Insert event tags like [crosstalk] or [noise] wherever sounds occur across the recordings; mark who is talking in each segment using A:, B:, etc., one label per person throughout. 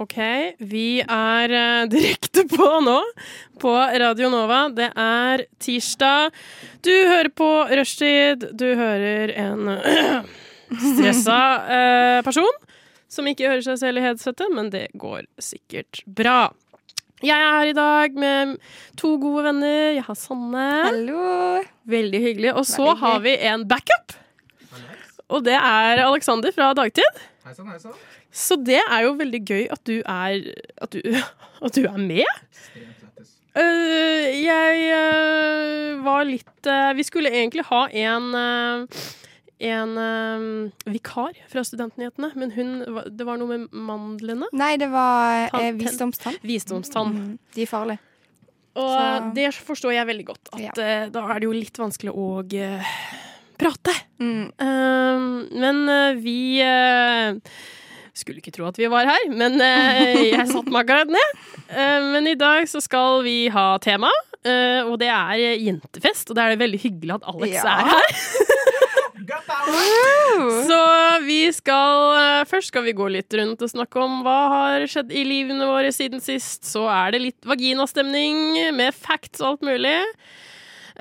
A: Ok, vi er eh, [laughs] direkte på nå, på Radio Nova. Det er tirsdag. Du hører på Rushtid. Du hører en [clears throat] stressa eh, person som ikke hører seg selv i headsetet, men det går sikkert bra. Jeg er her i dag med to gode venner. Jeg har Sanne.
B: Hallo!
A: Veldig hyggelig. Og så
B: Veldig hyggelig.
A: har vi en backup, og det er Aleksander fra Dagtid.
C: Hei sann, hei sann.
A: Så det er jo veldig gøy at du er At du, [laughs] at du er med.
C: Ekstremt lættis.
A: Øh, jeg øh, var litt øh, Vi skulle egentlig ha en øh, en øh, vikar fra Studentnyhetene, men hun, var- det var noe med mandlene.
B: Nei, det var eh,
A: Tann-
B: visdomstann.
A: Visdomstann.
B: Mm, de er farlige.
A: Og
B: Så-
A: det forstår jeg veldig godt. At øh, da er det jo litt vanskelig å øh, prate.
B: Mm.
A: Ehm, men eh, vi eh, skulle ikke tro at vi var her, men eh, jeg satte meg akkurat ned. Eh, men i dag så skal vi ha tema, eh, og det er eh, jentefest. Og det er det veldig hyggelig at Alex
B: Ja.
A: er her. Så vi skal eh, Først skal vi gå litt rundt og snakke om hva har skjedd i livene våre siden sist. Så er det litt vaginastemning med facts og alt mulig.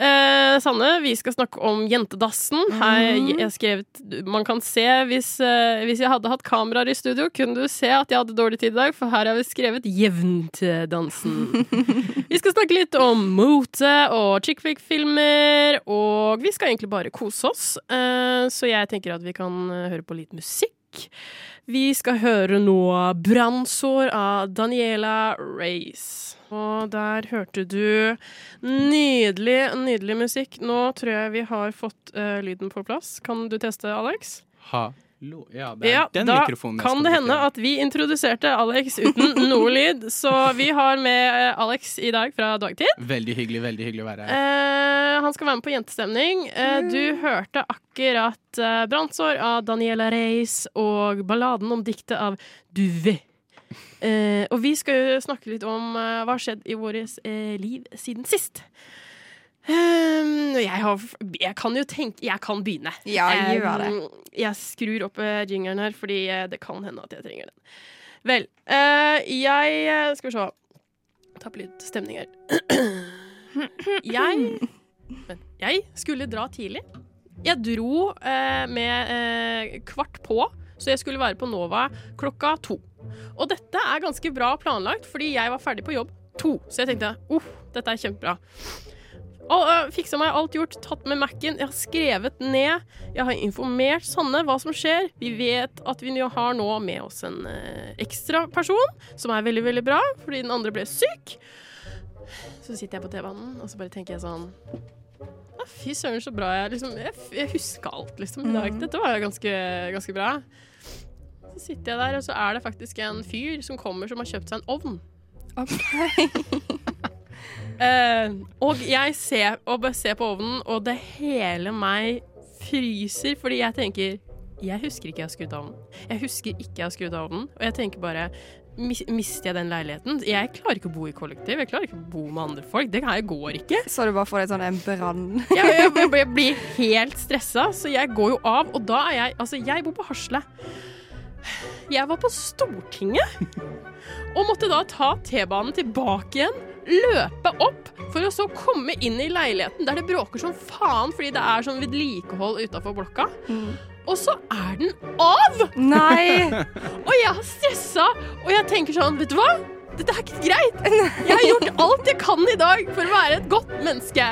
A: Eh, Sanne, vi skal snakke om jentedassen. Her, jeg har skrevet Man kan se hvis, eh, hvis jeg hadde hatt kameraer i studio, kunne du se at jeg hadde dårlig tid i dag, for her har vi skrevet jevntedansen. vi skal snakke litt om mote og chick flick-filmer, og vi skal egentlig bare kose oss. Eh, så jeg tenker at vi kan eh, høre på litt musikk. Vi skal høre nå 'Brannsår' av Daniela Race. Og der hørte du Nydelig, nydelig musikk. Nå tror jeg vi har fått eh, lyden på plass. Kan du teste, Alex?
C: Hallo. Ja, det er den
A: da
C: mikrofonen jeg
A: kan
C: skal
A: det
C: bruke.
A: hende at vi introduserte Alex uten noe lyd, så vi har med eh, Alex i dag fra Dagtid.
C: Veldig hyggelig veldig hyggelig å være her.
A: Eh, han skal være med på Jentestemning. Eh, du hørte akkurat eh, 'Brannsår' av Daniela Reis og balladen om diktet av Duve. Eh, og vi skal jo snakke litt om eh, hva har skjedd i vårt eh, liv siden sist. Ehm, og jeg, har, jeg kan jo tenke Jeg kan begynne.
B: Ja, gjør det.
A: Ehm, Jeg skrur opp eh, jingeren her, fordi eh, det kan hende at jeg trenger den. Vel, eh, jeg eh, Skal vi se. Ta på litt stemning her. [clears throat] Jeg Vent. Jeg skulle dra tidlig. Jeg dro eh, med eh, kvart på, så jeg skulle være på Nova klokka to. Og dette er ganske bra planlagt, fordi jeg var ferdig på jobb to. Så jeg tenkte uff, dette er kjempebra. Al øh, fiksa meg alt gjort, tatt med Mac-en, jeg har skrevet ned. Jeg har informert Sanne hva som skjer. Vi vet at vi nå har nå med oss en eh, ekstra person, som er veldig, veldig bra, fordi den andre ble syk. Så sitter jeg på T-banen, og så bare tenker jeg sånn ja, Fy søren, så bra jeg liksom, Jeg, jeg huska alt, liksom, i dag. Dette var jo ganske, ganske bra. Så sitter jeg der, og så er det faktisk en fyr som kommer som har kjøpt seg en ovn.
B: Ok.
A: [laughs] Eh, og jeg ser, og bare ser på ovnen, og det hele meg fryser, fordi jeg tenker Jeg husker ikke jeg har skrudd av ovnen. Jeg husker ikke jeg har skrudd av ovnen, og jeg tenker bare mis- Mister jeg den leiligheten? Jeg klarer ikke å bo i kollektiv. Jeg klarer ikke å bo med andre folk. Det her går ikke.
B: Så du bare får deg sånn en brann.
A: [laughs] Jeg, jeg, jeg, jeg blir helt stressa, så jeg går jo av. Og da er jeg Altså, jeg bor på Hasle. Jeg var på Stortinget og måtte da ta T-banen tilbake igjen. Løpe opp for å så komme inn i leiligheten der det bråker som faen fordi det er sånn vedlikehold utafor blokka. Og så er den av!
B: [laughs] Nei!
A: Og jeg har stressa, og jeg tenker sånn, vet du hva? Dette er ikke greit. Jeg har gjort alt jeg kan i dag for å være et godt menneske.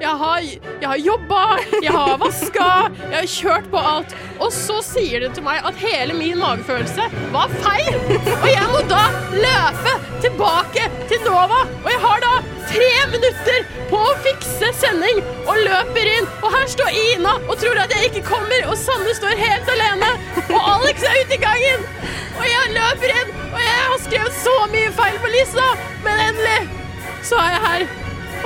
A: Jeg har, jeg har jobba, jeg har vaska, jeg har kjørt på alt. Og så sier det til meg at hele min magefølelse var feil. Og jeg må da løpe tilbake til Nova. Og jeg har da tre minutter på å fikse sending og løper inn. Og her står Ina og tror at jeg ikke kommer, og Sanne står helt alene. Og Alex er ute i gangen. Og jeg løper inn, og jeg har skrevet så mye feil på lista, men endelig så er jeg her.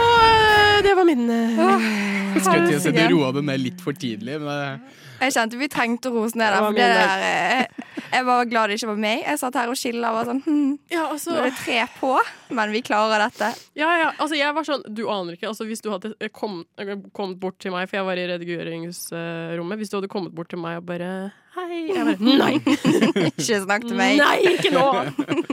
A: Og øh, det var min øh,
C: Jeg skulle til å si at
B: helsike.
C: Du roa det ned litt for tidlig, men eh, det
B: Jeg kjente vi trengte å rose ned
A: Det
B: der,
A: var
B: for det
A: min
B: der eh, Jeg var glad det ikke var meg. Jeg satt her og chilla og var sånn hm,
A: Ja,
B: Nå
A: altså,
B: er det tre på, men vi klarer dette.
A: ja, ja, altså jeg var sånn Du aner ikke. Altså, hvis du hadde kommet, kommet bort til meg, for jeg var i redigeringsrommet Hvis du hadde kommet bort til meg og bare Hei. Jeg bare «Hm». Nei!
B: [laughs] Ikke snakk til meg.
A: Nei, ikke nå!
B: [laughs]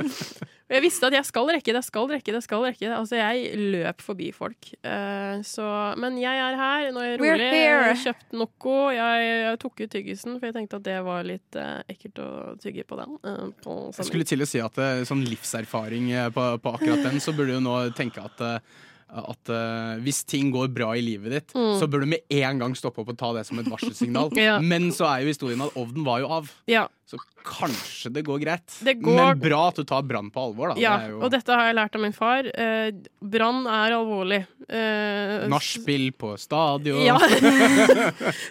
A: Og jeg visste at jeg skal rekke det, jeg skal rekke det, jeg skal rekke det. Altså, jeg løp forbi folk. Eh, så, men jeg er her, nå er jeg
B: We're
A: rolig. Jeg har
B: here.
A: kjøpt noe. Jeg, jeg tok ut tyggisen, for jeg tenkte at det var litt eh, ekkelt å tygge på den. eh, på
C: Jeg
A: sending.
C: skulle til å si at eh, sånn livserfaring eh, på, på akkurat den, så burde du nå tenke at eh, at eh, Hvis ting går bra i livet ditt, så bør du med en gang stoppe opp og ta det som et varselsignal.
A: Mm. [laughs] Ja.
C: Men så er jo historien at ovnen var jo av,
A: Ja,
C: så kanskje det går greit.
A: Det går-
C: Men bra at du tar brann på alvor, da.
A: ja.
C: det er jo
A: Og dette har jeg lært av min far. Eh, Brann er alvorlig. Eh,
C: nachspiel på stadion. [laughs]
A: Ja.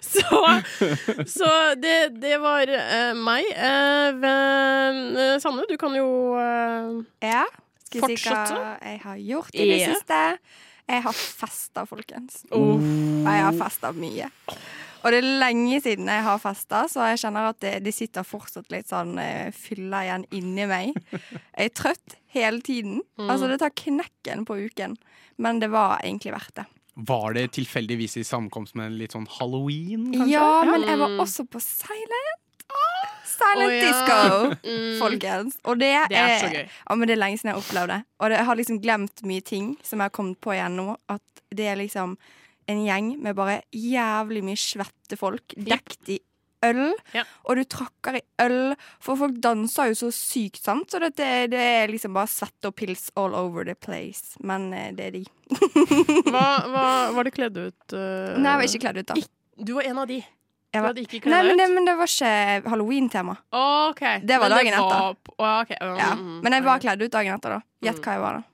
A: så så det, det var eh, meg. Eh, men, eh, Sanne, du kan jo eh,
B: Ja. Skal jeg si hva
A: Fortsette?
B: jeg har gjort i det
A: Ja.
B: siste? Jeg har festa, folkens.
A: oh,
B: Og jeg har festa mye. Og det er lenge siden jeg har festa, så jeg kjenner at det, det sitter fortsatt litt sånn eh, fylla igjen inni meg. Jeg er trøtt hele tiden.
A: Mm.
B: Altså, det tar knekken på uken. Men det var egentlig verdt det.
C: Var det tilfeldigvis i samkomst med litt sånn halloween? kanskje?
B: Ja, men jeg var også på silent. Silent
A: Mm. Å, ja.
B: disco,
A: Mm.
B: folkens. Og det,
A: Det er så gøy.
B: Ja, men det er lenge siden jeg har opplevd det. Og det, jeg har liksom glemt mye ting som jeg har kommet på igjen nå. At det er liksom en gjeng med bare jævlig mye svette folk dekt i øl.
A: Ja.
B: Og du trakker i øl, for folk danser jo så sykt, sant? Så det, det det er liksom bare svette og pils all over the place. Men eh, det er de.
A: Hva, hva var du kledd ut? eh?
B: Nei, jeg var ikke kledd ut, da.
A: Du var en av de. Du
B: Jeg var,
A: hadde ikke
B: nei,
A: kledd
B: men
A: deg
B: det,
A: ut?
B: men det var ikke halloween-tema.
A: OK.
B: Det var
A: Men
B: dagen etter.
A: var på- å, ok, um,
B: Ja.
A: mm,
B: Men jeg var
A: ok.
B: kledd ut dagen etter, da.
A: Mm.
B: Gjett hva jeg var, da.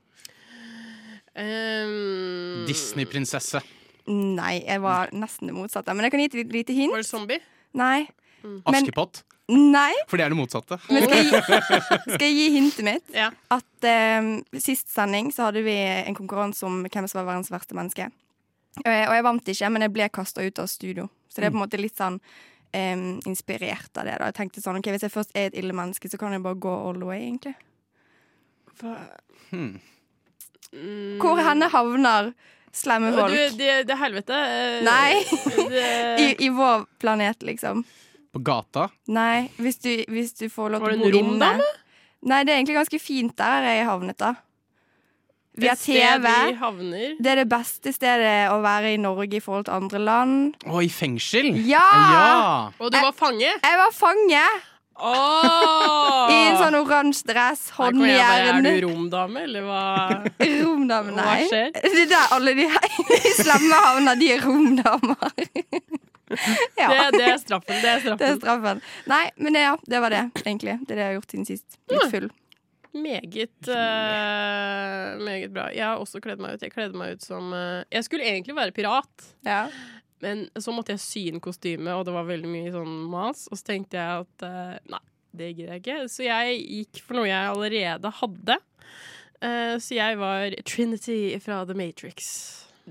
A: Um,
C: Disney-prinsesse.
B: Nei, jeg var nesten det motsatte. Men jeg kan gi et lite- lite
A: Var det
B: hint.
A: zombie?
B: Nei. Men-
C: Askepott.
B: Nei.
C: For det er det motsatte.
B: Men skal jeg, gi, skal jeg gi hintet mitt?
A: Ja.
B: At eh, Sist sending så hadde vi en konkurranse om hvem som var verdens verste menneske. Eh, og jeg vant ikke, men jeg ble kasta ut av studio. Så det er på en måte litt sånn eh, inspirert av det. da Jeg tenkte sånn, ok, Hvis jeg først er et ille menneske, så kan jeg bare gå all the way, egentlig.
C: Hmm.
A: Mm.
B: Hvor henne havner slemme
A: Å,
B: folk?
A: Du, det, det er helvete. eh,
B: Nei. [laughs] I,
A: Det,
B: I vår planet, liksom.
C: På gata.
B: Nei, hvis du, hvis du får lov
A: Var det
B: til å bo
A: en
B: inne.
A: romdame?
B: Nei, det er egentlig ganske fint der jeg havnet, da. Vi har
A: et sted
B: TV.
A: Vi havner.
B: Det er det beste stedet å være i Norge i forhold til andre land.
C: Å, i fengsel!
B: Ja!
C: Ja!
A: Og du var fange?
B: Jeg var fange
A: Åh!
B: i en sånn oransje dress,
A: Her kommer jeg bare, Er
B: håndjern
A: du romdame, eller hva?
B: Romdame,
A: Hva
B: nei.
A: skjer?
B: [laughs] Det er der alle de her slemme havner, de er romdamer. [laughs] [laughs] ja,
A: Det,
B: [laughs] det,
A: det er straffen. Det er
B: er
A: straffen.
B: straffen. Nei, men ja, det var det, egentlig. Det er det jeg har gjort siden sist. Litt full.
A: Meget, eh, meget bra. Jeg har også kledd meg ut. Jeg kledde meg ut som eh, Jeg skulle egentlig være pirat,
B: Ja.
A: men så måtte jeg sy inn kostyme, og det var veldig mye sånn mas. Og så tenkte jeg at eh, nei, det gidder jeg ikke. Så jeg gikk for noe jeg allerede hadde. Eh, så jeg var Trinity fra The Matrix.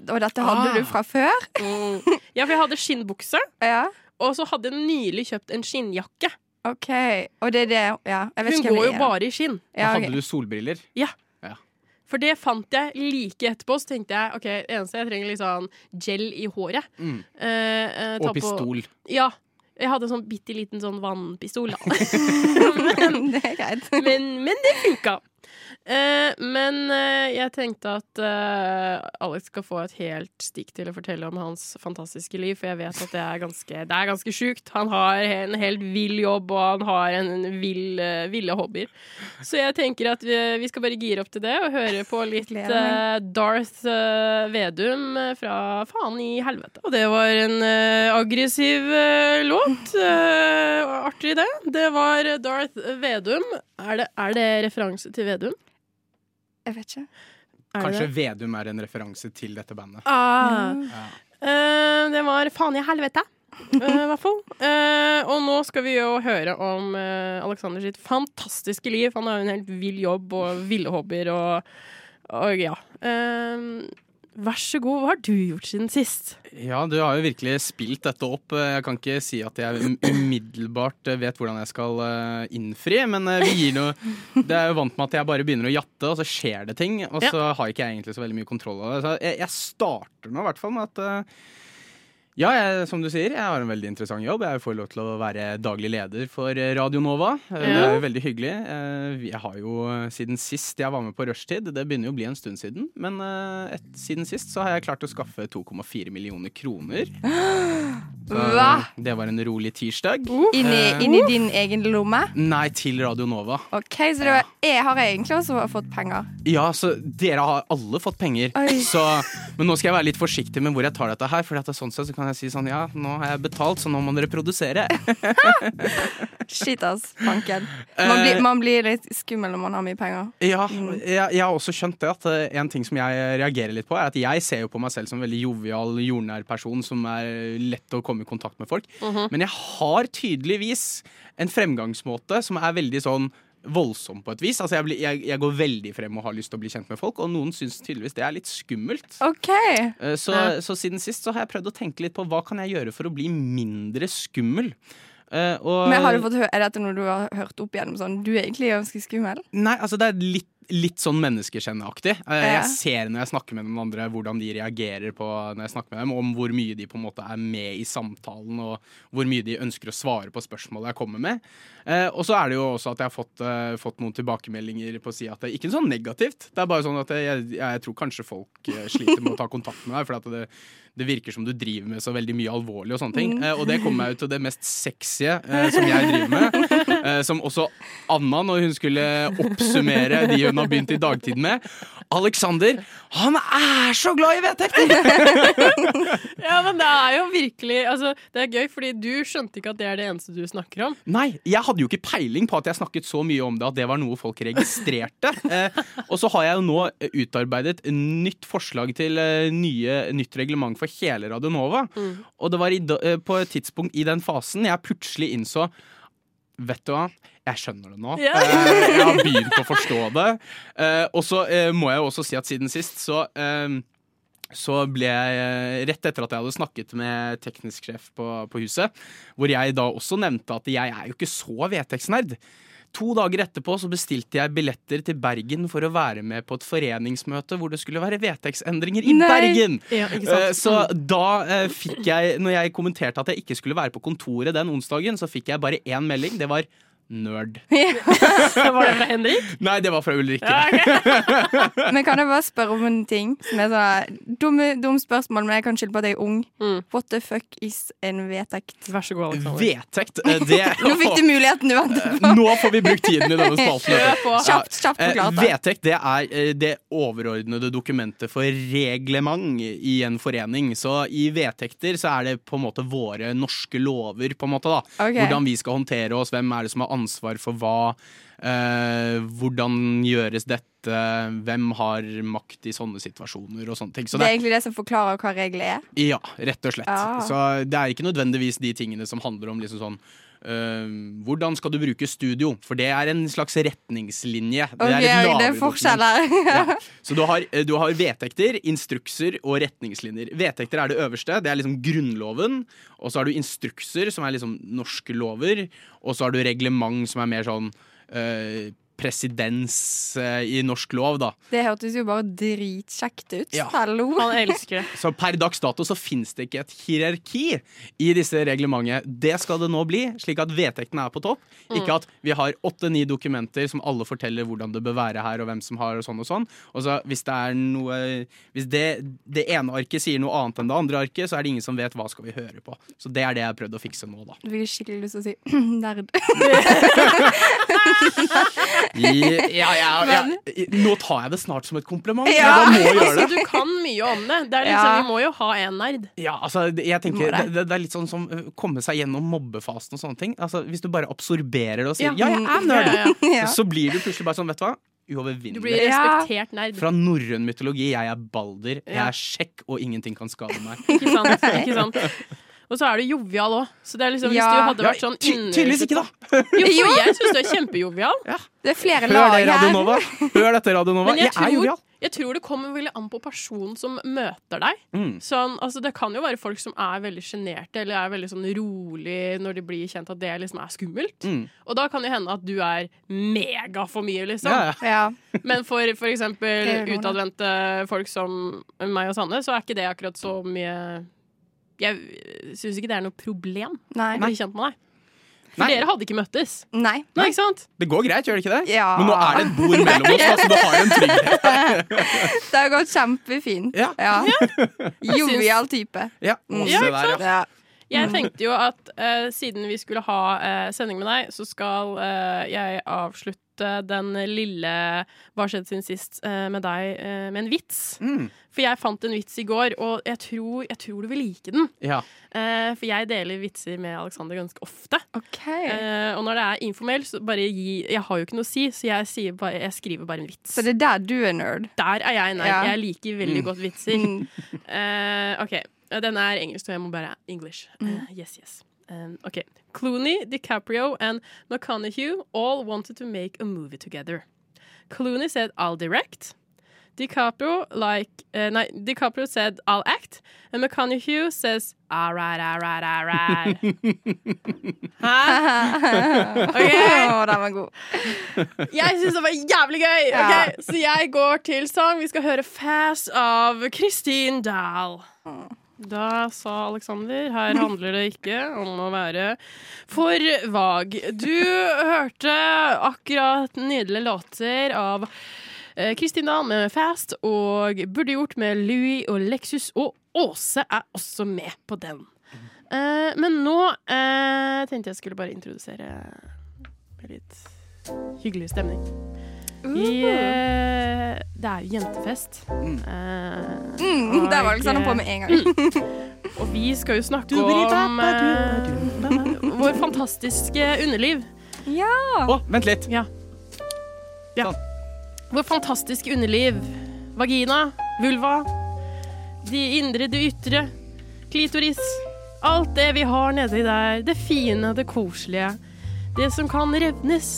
B: Og dette hadde
C: Ah.
B: du fra før?
A: Mm. [laughs] Ja, for jeg hadde skinnbukse,
B: Ja.
A: og så hadde jeg nylig kjøpt en skinnjakke.
B: OK. Og det er det Ja, jeg vet
A: Hun
B: ikke hvem
A: går
B: det
A: jo
B: er.
A: bare i skinn.
B: Ja,
C: Da
B: ok. [laughs]
C: hadde du solbriller.
A: For det fant jeg like etterpå. Så tenkte jeg ok, det eneste jeg trenger litt sånn gel i håret.
C: Mm.
A: Eh, eh, ta
C: Og
A: på-
C: pistol.
A: Ja. Jeg hadde sånn bitte liten sånn vannpistol, da. [laughs]
B: det er greit.
A: men, men det funka. Eh, men eh, jeg tenkte at eh, Alex skal få et helt stikk til å fortelle om hans fantastiske liv, for jeg vet at det er ganske, det er ganske sjukt. Han har en helt vill jobb, og han har en vill, eh, ville hobbyer. Så jeg tenker at vi, vi skal bare gire opp til det og høre på litt
B: Gleder
A: eh, Darth eh, Vedum eh, fra Faen i helvete. Og det var en eh, aggressiv eh, låt. Eh, artig, det. Det var Darth Vedum. Er det, er det referanse til Vedum?
B: Jeg vet ikke.
A: Er
C: Kanskje
A: det det?
C: Vedum er en referanse til dette bandet.
A: Ah.
C: Ja.
A: Eh, det var Faen i helvete. eh, I hvert fall. Eh, og nå skal vi jo høre om uh, Aleksander sitt fantastiske liv. Han har jo en helt vill jobb og ville hobbyer og, og ja. Eh, Vær så god, hva har du gjort siden sist?
C: Ja, du har jo virkelig spilt dette opp. Jeg kan ikke si at jeg umiddelbart vet hvordan jeg skal eh, innfri, men eh, vi gir noe Det er jo vant med at jeg bare begynner å jatte, og så skjer det ting. Og
A: Ja.
C: så har ikke jeg egentlig så veldig mye kontroll over det. Så jeg, jeg starter nå i hvert fall med at eh, ja, jeg, som du sier, jeg har en veldig interessant jobb. Jeg får lov til å være daglig leder for Radio Nova. Eh, Det er jo veldig hyggelig. Eh, Jeg har jo eh, siden sist jeg var med på rushtid, det begynner jo å bli en stund siden, men eh, et, siden sist så har jeg klart å skaffe 2,4 millioner kroner. Så
B: Hva? Uh.
C: Det var en rolig tirsdag.
B: Inn i, inn i din egen lomme?
C: Nei, til Radio Nova.
B: OK, så det var, jeg har egentlig også fått penger.
C: Ja, så dere har alle fått penger.
B: Oi.
C: Så, men nå skal jeg være litt forsiktig med hvor jeg tar dette her. For at det er sånn sett så kan jeg si sånn, ja, nå har jeg betalt, så nå må dere produsere. [laughs]
B: Shit, ass. Banken. Man
C: Eh.
B: blir, man blir litt skummel når man har mye penger.
C: Ja, jeg, jeg har også skjønt det at eh, en ting som jeg reagerer litt på, er at jeg ser jo på meg selv som en veldig jovial, jordnær person som er lett å komme i kontakt med folk. Men jeg har tydeligvis en fremgangsmåte som er veldig sånn voldsom på et vis. Altså jeg, blir, jeg, jeg går veldig frem og har lyst til å bli kjent med folk, og noen syns tydeligvis det er litt skummelt.
B: OK.
C: Eh, Så,
A: Ja.
C: så siden sist så har jeg prøvd å tenke litt på hva kan jeg gjøre for å bli mindre skummel. Eh, og-
B: Men har du fått hø er dette noe du har hørt opp igjennom sånn Du er egentlig ganske skummel? [laughs]
C: Nei, altså det er litt, litt sånn menneskekjenneaktig. Eh,
B: Ja.
C: Jeg ser når jeg snakker med noen andre, hvordan de reagerer på når jeg snakker med dem, om hvor mye de på en måte er med i samtalen, og hvor mye de ønsker å svare på spørsmålet jeg kommer med. Eh, og så er det jo også at jeg har fått, eh, fått noen tilbakemeldinger på å si at det ikke er sånn negativt. Det er bare sånn at jeg, jeg, jeg tror kanskje folk eh, sliter med å ta kontakt med deg, for at det, det virker som du driver med så veldig mye alvorlig og sånne ting. Eh, og det kommer meg jo til det mest sexy eh, som jeg driver med. Eh, som også Anna, når hun skulle oppsummere de hun har begynt i dagtid med. Alexander, han er så glad i vedtekter!
A: Ja, men det er jo virkelig altså, Det er gøy, fordi du skjønte ikke at det er det eneste du snakker om.
C: Nei, jeg hadde jo ikke peiling på at jeg snakket så mye om det at det var noe folk registrerte. Eh, og så har jeg jo nå eh, utarbeidet nytt forslag til eh, nye, nytt reglement for hele Radionova.
A: Mm.
C: Og det var i, da- eh, på et tidspunkt i den fasen jeg plutselig innså Vet du hva, jeg skjønner det nå.
A: Ja.
C: Eh, Jeg har begynt å forstå det. Eh, Og så eh, må jeg jo også si at siden sist så eh, så ble jeg, eh, rett etter at jeg hadde snakket med teknisk sjef på, på huset, hvor jeg da også nevnte at jeg er jo ikke så vedtektsnerd. To dager etterpå så bestilte jeg billetter til Bergen for å være med på et foreningsmøte hvor det skulle være vedtektsendringer i
B: Nei.
C: Bergen!
A: Ja, ikke sant?
C: Eh, Så
A: [laughs]
C: da eh, fikk jeg, når jeg kommenterte at jeg ikke skulle være på kontoret den onsdagen, så fikk jeg bare én melding. Det var nerd.
A: Var det fra Henrik?
C: Nei, det var fra Ulrikke.
B: Men kan jeg bare spørre om en ting som er sånn dumme, dum spørsmål, men jeg kan skylde på at jeg er ung.
A: Mm.
B: What the fuck is en vedtekt?
A: Vær så god, Alexander.
C: Vedtekt. eh, Det [laughs]
B: Nå fikk du muligheten du ventet på.
C: Nå får vi brukt tiden i denne spalten.
A: Kjør på.
C: Ja.
B: Kjapt, kjapt
C: Eh,
B: forklart. da.
C: Vedtekt det er eh, det overordnede dokumentet for reglement i en forening. Så i vedtekter så er det på en måte våre norske lover, på en måte. da
B: Ok.
C: Hvordan vi skal håndtere oss, hvem er det som har ansvar for hva. eh, hvordan gjøres dette, hvem har makt i sånne situasjoner og sånne ting. Så
B: Det
C: det
B: er egentlig det som forklarer hva regler er. Ah.
C: ja, rett og slett.
B: Ja.
C: Så det er ikke nødvendigvis de tingene som handler om liksom sånn øhm, Hvordan skal du bruke studio? For det er en slags retningslinje.
B: Ok,
C: et
B: det er,
C: lavere dokument.
B: forskjeller. [laughs]
C: Ja. Så du har, eh, du har vedtekter, instrukser og retningslinjer. Vedtekter er det øverste. Det er liksom grunnloven. Og så har du instrukser, som er liksom norske lover. Og så har du reglement, som er mer sånn øh, presedens øh, i norsk lov, da.
B: Det hørtes jo bare dritkjekt ut.
C: Ja.
B: Hallo.
A: Han elsker det.
C: Så per dags dato så finnes det ikke et hierarki i disse reglementet. Det skal det nå bli, slik at vedtektene er på topp. Ikke at vi har åtte-ni dokumenter som alle forteller hvordan det bør være her, og hvem som har, og sånn og sånn. Og så hvis det er noe Hvis det, det ene arket sier noe annet enn det andre arket, så er det ingen som vet hva skal vi høre på. Så det er det jeg har prøvd å fikse nå, da.
B: Du fikk jeg skikkelig lyst til å si [clears throat] nerd. [laughs]
C: I, [laughs] ja, ja, ja, i, nå tar jeg det snart som et kompliment.
B: Ja.
C: Jeg
A: [laughs]
C: bare må gjøre det.
A: Altså, du kan mye om det. det er liksom,
B: Ja.
A: Vi må jo ha en nerd.
C: Ja, altså, det- jeg tenker
B: Må
C: det,
B: det.
C: det, det er litt sånn som uh, komme seg gjennom mobbefasen og sånne ting. Altså, hvis du bare absorberer det og sier ja,
A: Ja.
C: jeg er nerd,
A: Ja, ja.
B: ja.
C: så blir du plutselig bare sånn, vet du hva,
A: Du blir
C: uovervinnelig.
B: Ja.
A: respektert nerd.
C: Fra norrøn mytologi, jeg er balder, jeg
A: Ja.
C: er sjekk, og ingenting kan skade
A: [laughs]
C: meg.
A: Ikke sant? Ikke sant? Og så er du jovial òg. Så det er liksom, hvis
B: Ja.
A: du hadde
C: Ja,
A: vært sånn
C: ty
A: inne-
C: tydeligvis ikke, da!
A: Jo, for jeg syns du er kjempejovial.
C: [laughs]
B: Det er flere
C: Hør det,
B: lag
C: Radio
B: her.
C: Nova! Hør dette, Radio Nova!
A: Men jeg
C: Jeg, er
A: tror-
C: jovial!
A: Jeg tror det kommer veldig an på personen som møter deg.
C: Mm.
A: Sånn, altså det kan jo være folk som er veldig sjenerte eller er veldig sånn rolig når de blir kjent at det liksom er skummelt.
C: Mm.
A: Og da kan det hende at du er mega for mye, liksom.
C: Ja, ja.
B: Ja.
A: Men for for eksempel
B: Det gjør noe, da.
A: utadvendte folk som meg og Sanne, så er ikke det akkurat så mye Jeg syns ikke det er noe problem
B: Nei.
A: å bli kjent med deg. For
C: Nei.
A: dere hadde ikke møttes.
B: Nei.
C: Nei.
A: Ikke sant?
C: Det går greit, gjør det ikke det?
B: Ja.
C: Men nå er det et bord mellom oss, da, så det har jo en trygghet.
A: [laughs]
B: Det har gått kjempefint.
C: [laughs] Ja.
B: Jovial type.
C: Ja,
B: Mm.
C: og
A: Ja,
C: se
A: ikke
C: der,
A: sant?
C: ja.
B: Ja.
A: Jeg
B: Mm.
A: tenkte jo at eh, siden vi skulle ha eh, sending med deg, så skal eh, jeg avslutte den lille Hva skjedde siden sist eh, med deg eh, med en vits.
C: Mm.
A: For jeg fant en vits i går, og jeg tror, jeg tror du vil like den.
C: ja.
A: Eh, for jeg deler vitser med Alexander ganske ofte.
B: OK.
A: Eh, og når det er informell, så bare gi Jeg har jo ikke noe å si, så jeg, sier bare, jeg skriver bare en vits.
B: Så det er der du er nerd.
A: Der er jeg nerd.
B: Ja.
A: Jeg liker veldig
C: Mm.
A: godt vitser.
B: Mm.
A: Eh, OK. Denne er engelsk, og jeg må bare English. Eh,
B: Mm.
A: yes, yes. Um, OK. Clooney, DiCaprio and McConaughey all wanted to make a movie together. Clooney said, I'll direct. DiCaprio, like, uh, nei, DiCaprio said, I'll act. And McConaughey says, "Ah, all right, all right, all right. Hæ?
B: [laughs] Å, den var god.
A: Jeg syns det var jævlig gøy! Ok,
B: Ja.
A: Så jeg går til sang. Vi skal høre Fast av Kristin Dahl. Da sa Alexander her handler det ikke om å være for vag. Du hørte akkurat nydelige låter av eh, Kristin Dahl med Fast og Burde gjort med Louis og Lexus, og Åse er også med på den. Eh, men nå eh, tenkte jeg skulle bare introdusere med litt hyggelig stemning.
B: Mhm.
A: I, eh, det er jo jentefest. Eh,
B: Mm, der var Alexander på med en gang.
A: og vi skal jo snakke om
C: Å,
A: eh, [laughs] vår fantastiske underliv.
B: [laughs] Ja.
C: vent litt.
A: Ja. ja.
C: Sånn.
A: Vår fantastiske underliv. Vagina, vulva, de indre, det ytre, klitoris. Alt det vi har nedi der. Det fine, det koselige. Det som kan revnes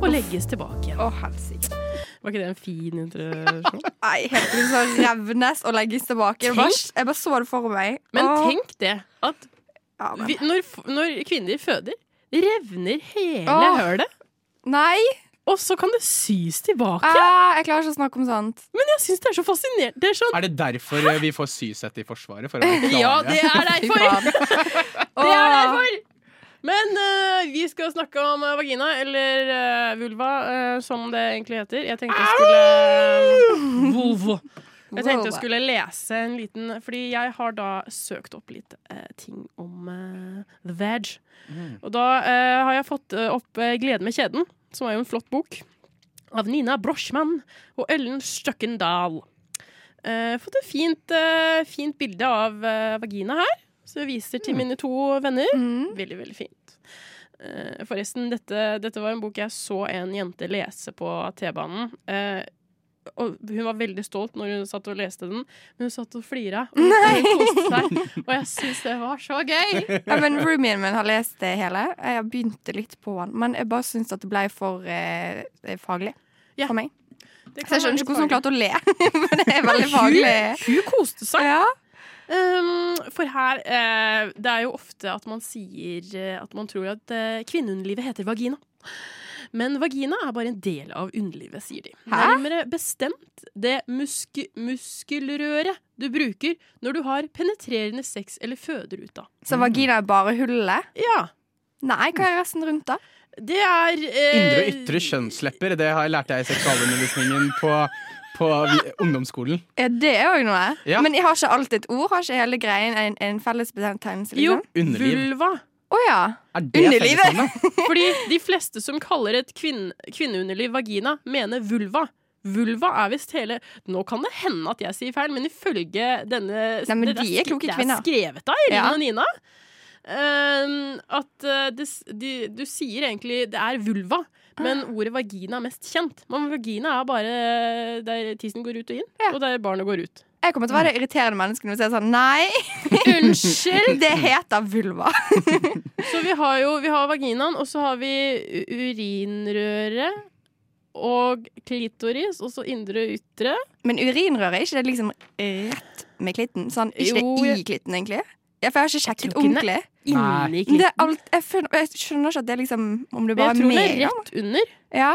A: og legges tilbake igjen.
B: Å, helsike.
A: Var ikke det en fin introduksjon?
B: Nei, helt til så revnes sånn og legges tilbake. Jeg bare, jeg bare så det for meg.
A: Men
B: Å,
A: tenk det, at
B: ja, men-
A: vi, når, f- når kvinner føder, revner hele
B: Åh.
A: hølet.
B: Nei!
A: Og så kan det sys tilbake.
B: Ah, jeg klarer ikke å snakke om sånt.
A: Men jeg syns det er så fascinerende. Det er sånn
C: Er det derfor eh, vi får sysett i Forsvaret? For å klare
A: [laughs] Ja, det er derfor! Det er derfor! Men eh, vi skal snakke om eh, vagina, eller eh, vulva, eh, som det egentlig heter. Jeg tenkte jeg skulle [laughs] Vulva. Jeg tenkte jeg skulle lese en liten Fordi jeg har da søkt opp litt eh, ting om eh, The Veg. Og da eh, har jeg fått eh, opp eh, 'Glede med kjeden', som er jo en flott bok. Av Nina Brochmann og Ellen Støkkendal. Eh, fått et fint, eh, fint bilde av eh, vagina her, som jeg viser til mine to venner.
B: Mm.
A: Veldig, veldig fint. Eh, forresten, dette, dette var en bok jeg så en jente lese på T-banen. Eh, og hun var veldig stolt når hun satt og leste den, men hun satt og flira. Og hun koste seg. Og jeg syns det var så
B: [laughs]
A: gøy!
B: Ja, men Roomien min har lest det hele. Jeg begynte litt på den, men jeg bare syns at det ble for eh, faglig
A: Ja.
B: for meg.
A: Det
B: Så jeg skjønner ikke hvordan hun
A: kan være litt
B: klarte å le, [laughs] men det er veldig faglig.
A: farlig. Hun, hun koste seg.
B: Ja.
A: Um, for her eh, Det er jo ofte at man sier eh, at man tror at eh, kvinneunderlivet heter vagina. Men vagina er bare en del av underlivet, sier de.
B: Hæ?
A: Nærmere bestemt det musk muskelrøret du bruker når du har penetrerende sex eller føder ut av.
B: Så vagina er bare hullet?
A: Ja,
B: Nei, hva er resten rundt, da?
A: det er eh,
C: Indre og ytre kjønnslepper, det har jeg lært jeg i seksualundervisningen på, på vi- ungdomsskolen.
B: Ja, det er jo noe.
C: Ja.
B: Men jeg har ikke alltid et ord. Har ikke hele greien en, en felles betegnelse?
A: Jo,
B: Liksom?
C: Underliv.
A: vulva.
B: Å ja.
C: Er det
B: Underlivet!
C: fellesnavnet?
A: Fordi de fleste som kaller et kvinn, kvinneunderliv vagina, mener vulva. Vulva er visst hele Nå kan det hende at jeg sier feil, men ifølge denne
B: Nei, men
A: det- det
B: de er
A: skri-
B: kloke
A: det
B: kvinner.
A: skrevet av Elin
B: Ja.
A: og Nina. ehm, at eh, det, s- de, du sier egentlig det er vulva,
B: Ah.
A: men ordet vagina er mest kjent. Men vagina er bare der tissen går ut og inn,
B: Ja.
A: og der barnet går ut.
B: Jeg kommer til å være det irriterende mennesket når vi sier sånn Nei,
A: [laughs] Unnskyld!
B: det heter vulva.
A: Så vi har jo vi har vaginaen, og så har vi u- urinrøret. og klitoris, og så indre og ytre.
B: Men urinrøret, er ikke det liksom rett med klitten? Sånn, ikke
A: Jo,
B: det
A: jeg-
B: i klitten, egentlig? Ja, for jeg har ikke
A: Jeg
B: sjekket
A: tror ikke den er
B: ordentlig.
A: Inni
B: Men det er
A: klitten.
B: alt, jeg, skjønner, jeg skjønner ikke at det er liksom Om det bare
A: Jeg
B: er
A: tror den
B: med
A: er rett under.
B: Ja.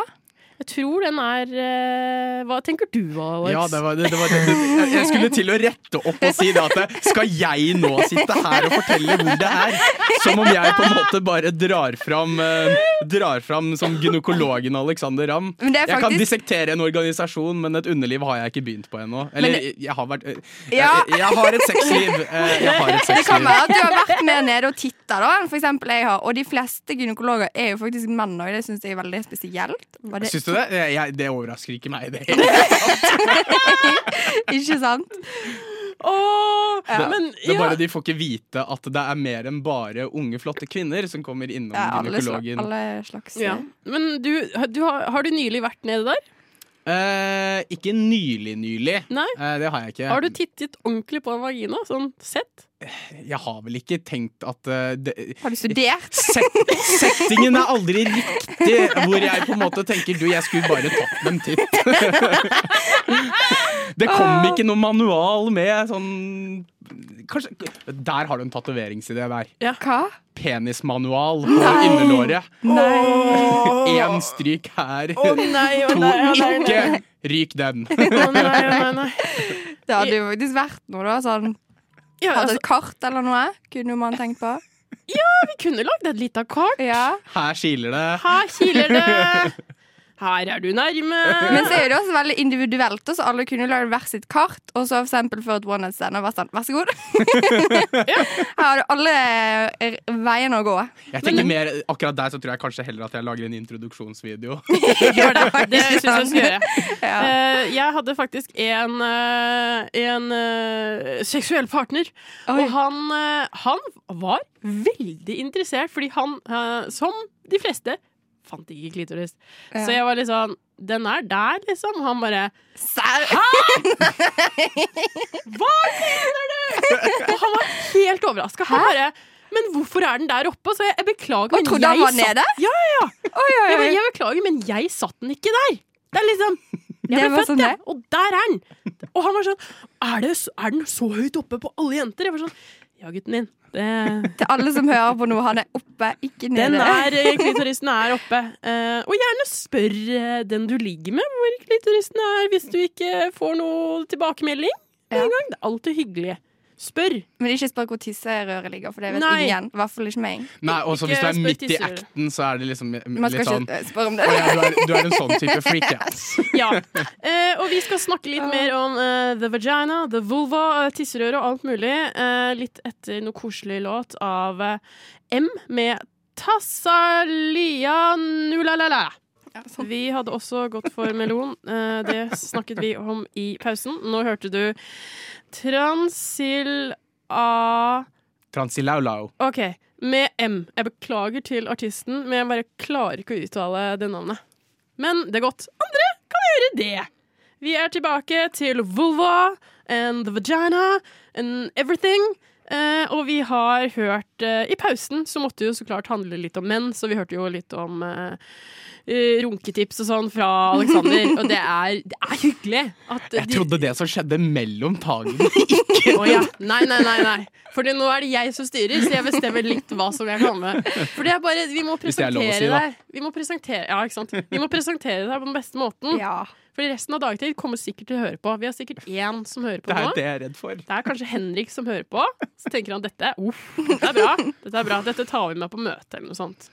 A: Jeg tror den er eh, Hva tenker du, Alex?
C: Ja, det var, det, det var det. Jeg- Jeg skulle til å rette opp og si det at det- skal jeg nå sitte her og fortelle hvor det er? Som om jeg på en måte bare drar fram, eh, drar fram som gynekologen Alexander Ramm.
B: Men det er
C: Jeg kan
B: faktisk
C: dissektere en organisasjon, men et underliv har jeg ikke begynt på ennå. Eller,
B: Men
C: jeg har vært eh, jeg,
B: Ja.
C: jeg har et sexliv. eh, Jeg har
B: [laughs]
C: et
B: Det kan
C: sexliv.
B: være at du har vært mer nede og titta, da. enn For eksempel jeg har. Og de fleste gynekologer er jo faktisk menn òg. Det syns jeg er veldig spesielt. Var det-
C: Syns du det? Jeg, jeg, det overrasker ikke
B: [laughs]
C: meg. Det.
B: ikke sant?
A: Åh,
B: Ja.
A: Men
C: Det er
A: ja,
C: bare De får ikke vite at det er mer enn bare unge, flotte kvinner som kommer innom
B: Ja, alle, sla-
C: gynekologen.
B: alle slags
A: ja. Men du, du har, har du nylig vært nede der?
C: Eh, ikke nylig, nylig.
A: Nei?
C: Eh, det har jeg ikke.
A: Har du tittet ordentlig på en vagina? Sånn sett?
C: jeg har vel ikke tenkt at eh, det,
B: Har du studert?
C: set, Settingen er aldri riktig, hvor jeg på en måte tenker du, jeg skulle bare tatt med en titt. det kom ikke noe manual med sånn Kanskje Der har du en tatoveringsidé der.
B: Hva?
C: Penismanual på innerlåret.
A: Nei!
C: Én stryk her,
A: Å nei, å
C: to
A: nei, å nei, å nei.
C: ikke. Ryk den.
A: Å nei, å nei, å nei.
B: Det hadde jo faktisk vært noe, da. Sånn,
A: [laughs] Ja,
B: hadde
A: altså,
B: et kart eller noe, kunne man tenkt
A: [laughs]
B: på.
A: vi kunne lagd et lite kart.
B: Ja.
C: Her kiler det.
A: Her kiler det. Her er du nærme.
B: Men så er det også veldig individuelt, og så alle kunne lagd hvert sitt kart. Og så for eksempel for et one night stand og vært sånn, vær så
A: [laughs]
B: god. [laughs] Her har du alle eh, veiene å gå.
C: Jeg tenker mer, Akkurat der så tror jeg kanskje heller at jeg lager en introduksjonsvideo.
A: Gjør det.
B: [laughs]
A: Det syns jeg du skal gjøre.
B: Ja.
A: Eh, jeg hadde faktisk en, eh, en eh, seksuell partner.
B: Oi.
A: Og han, eh, han var veldig interessert, fordi han, eh, som de fleste, fant ikke klitoris.
B: Ja.
A: Så jeg var litt sånn Den er der, liksom. Han bare
B: Sær-
A: Og han var helt overraska. Han bare Men hvorfor er den der oppe? Så jeg, jeg beklager,
B: Og
A: men
B: trodde han var
A: satt-
B: nede?
A: Ja, ja, ja.
B: Oi, oi,
A: Jeg, bare,
B: oi.
A: jeg beklager, men jeg satt den ikke der. Det er
B: [laughs]
A: liksom Jeg
B: Det
A: ble
B: var
A: født,
B: sånn
A: jeg,
B: det.
A: og der er den! Og han var sånn er, det, så- er den så høyt oppe på alle jenter? Jeg var sånn Ja, gutten din.
B: [laughs]
A: Det,
B: Til alle som hører på nå, han er oppe, ikke nede.
A: den er eh, Klitoristen er oppe. Eh, og gjerne spør eh, den du ligger med, hvor klitoristen er, hvis du ikke får noe tilbakemelding.
B: Ja.
A: En gang. Det er alltid hyggelig. Spør.
B: [laughs] Men ikke spør hvor tisserøret ligger, for det vet
A: Nei.
B: ingen. I hvert fall ikke meg.
C: Nei, også Hvis du er
A: spør
C: midt i
A: tisser.
C: acten, så er det liksom
B: Man
C: litt
B: skal
C: sånn
B: ikke eh, spørre om
C: «Å
B: det.
C: ja, du, er, du er en sånn type freak, ja.
B: [laughs]
A: Ja. Eh, og vi skal snakke litt mer om eh, the vagina, the vulva, uh, tisserøret og alt mulig. eh, litt etter noe koselig låt av eh, M med Tassalia nulalala.
B: sånn.
A: Vi hadde også gått for melon. eh, det snakket vi om i pausen. Nå hørte du Transil A...
C: Transilaulau.
A: OK. Med M. Jeg beklager til artisten, men jeg bare klarer ikke å uttale det navnet. Men det er godt. Andre kan gjøre det. Vi er tilbake til vulva and the vagina and everything. Eh, og vi har hørt eh, I pausen så måtte det jo så klart handle litt om menn, så vi hørte jo litt om eh, eh, runketips og sånn fra Alexander.
C: [laughs]
A: og det er, det er hyggelig at
C: Jeg trodde det som skjedde mellom
B: [laughs]
C: tagene
A: å ja. Nei, nei, nei. nei. Fordi nå er det jeg som styrer, så jeg bestemmer litt hva som jeg kan med. For det er bare, vi må
C: Hvis det er lov å
A: presentere
C: si, da.
A: deg Vi må presentere, ja, ikke sant? Vi må presentere deg på den beste måten.
B: Ja.
A: Fordi resten av dagtid kommer sikkert til å høre på. Vi har sikkert én som hører på
C: Det er
A: nå.
C: det jeg er redd for.
A: Det er kanskje Henrik som hører på. Så tenker han dette, uff, dette er bra. Dette er bra, dette tar vi med på møte eller noe sånt.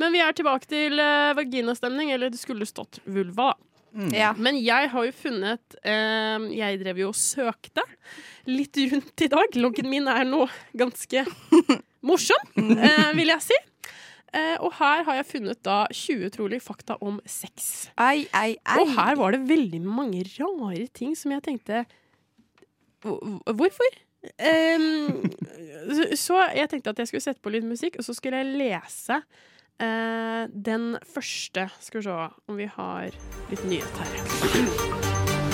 A: Men vi er tilbake til eh, vaginastemning, eller det skulle stått vulva. da.
B: ja.
A: Men jeg har jo funnet eh, Jeg drev jo og søkte litt rundt i dag. Loggen min er nå ganske morsom, eh, vil jeg si. Eh, og her har jeg funnet da 20 utrolige fakta om sex.
B: Ai, ai, ai.
A: Og her var det veldig mange rare ting som jeg tenkte "Hvor- Hvorfor? Em, så- så jeg tenkte at jeg skulle sette på litt musikk, og så skulle jeg lese eh, den første. Skal vi se om vi har litt nyhet her.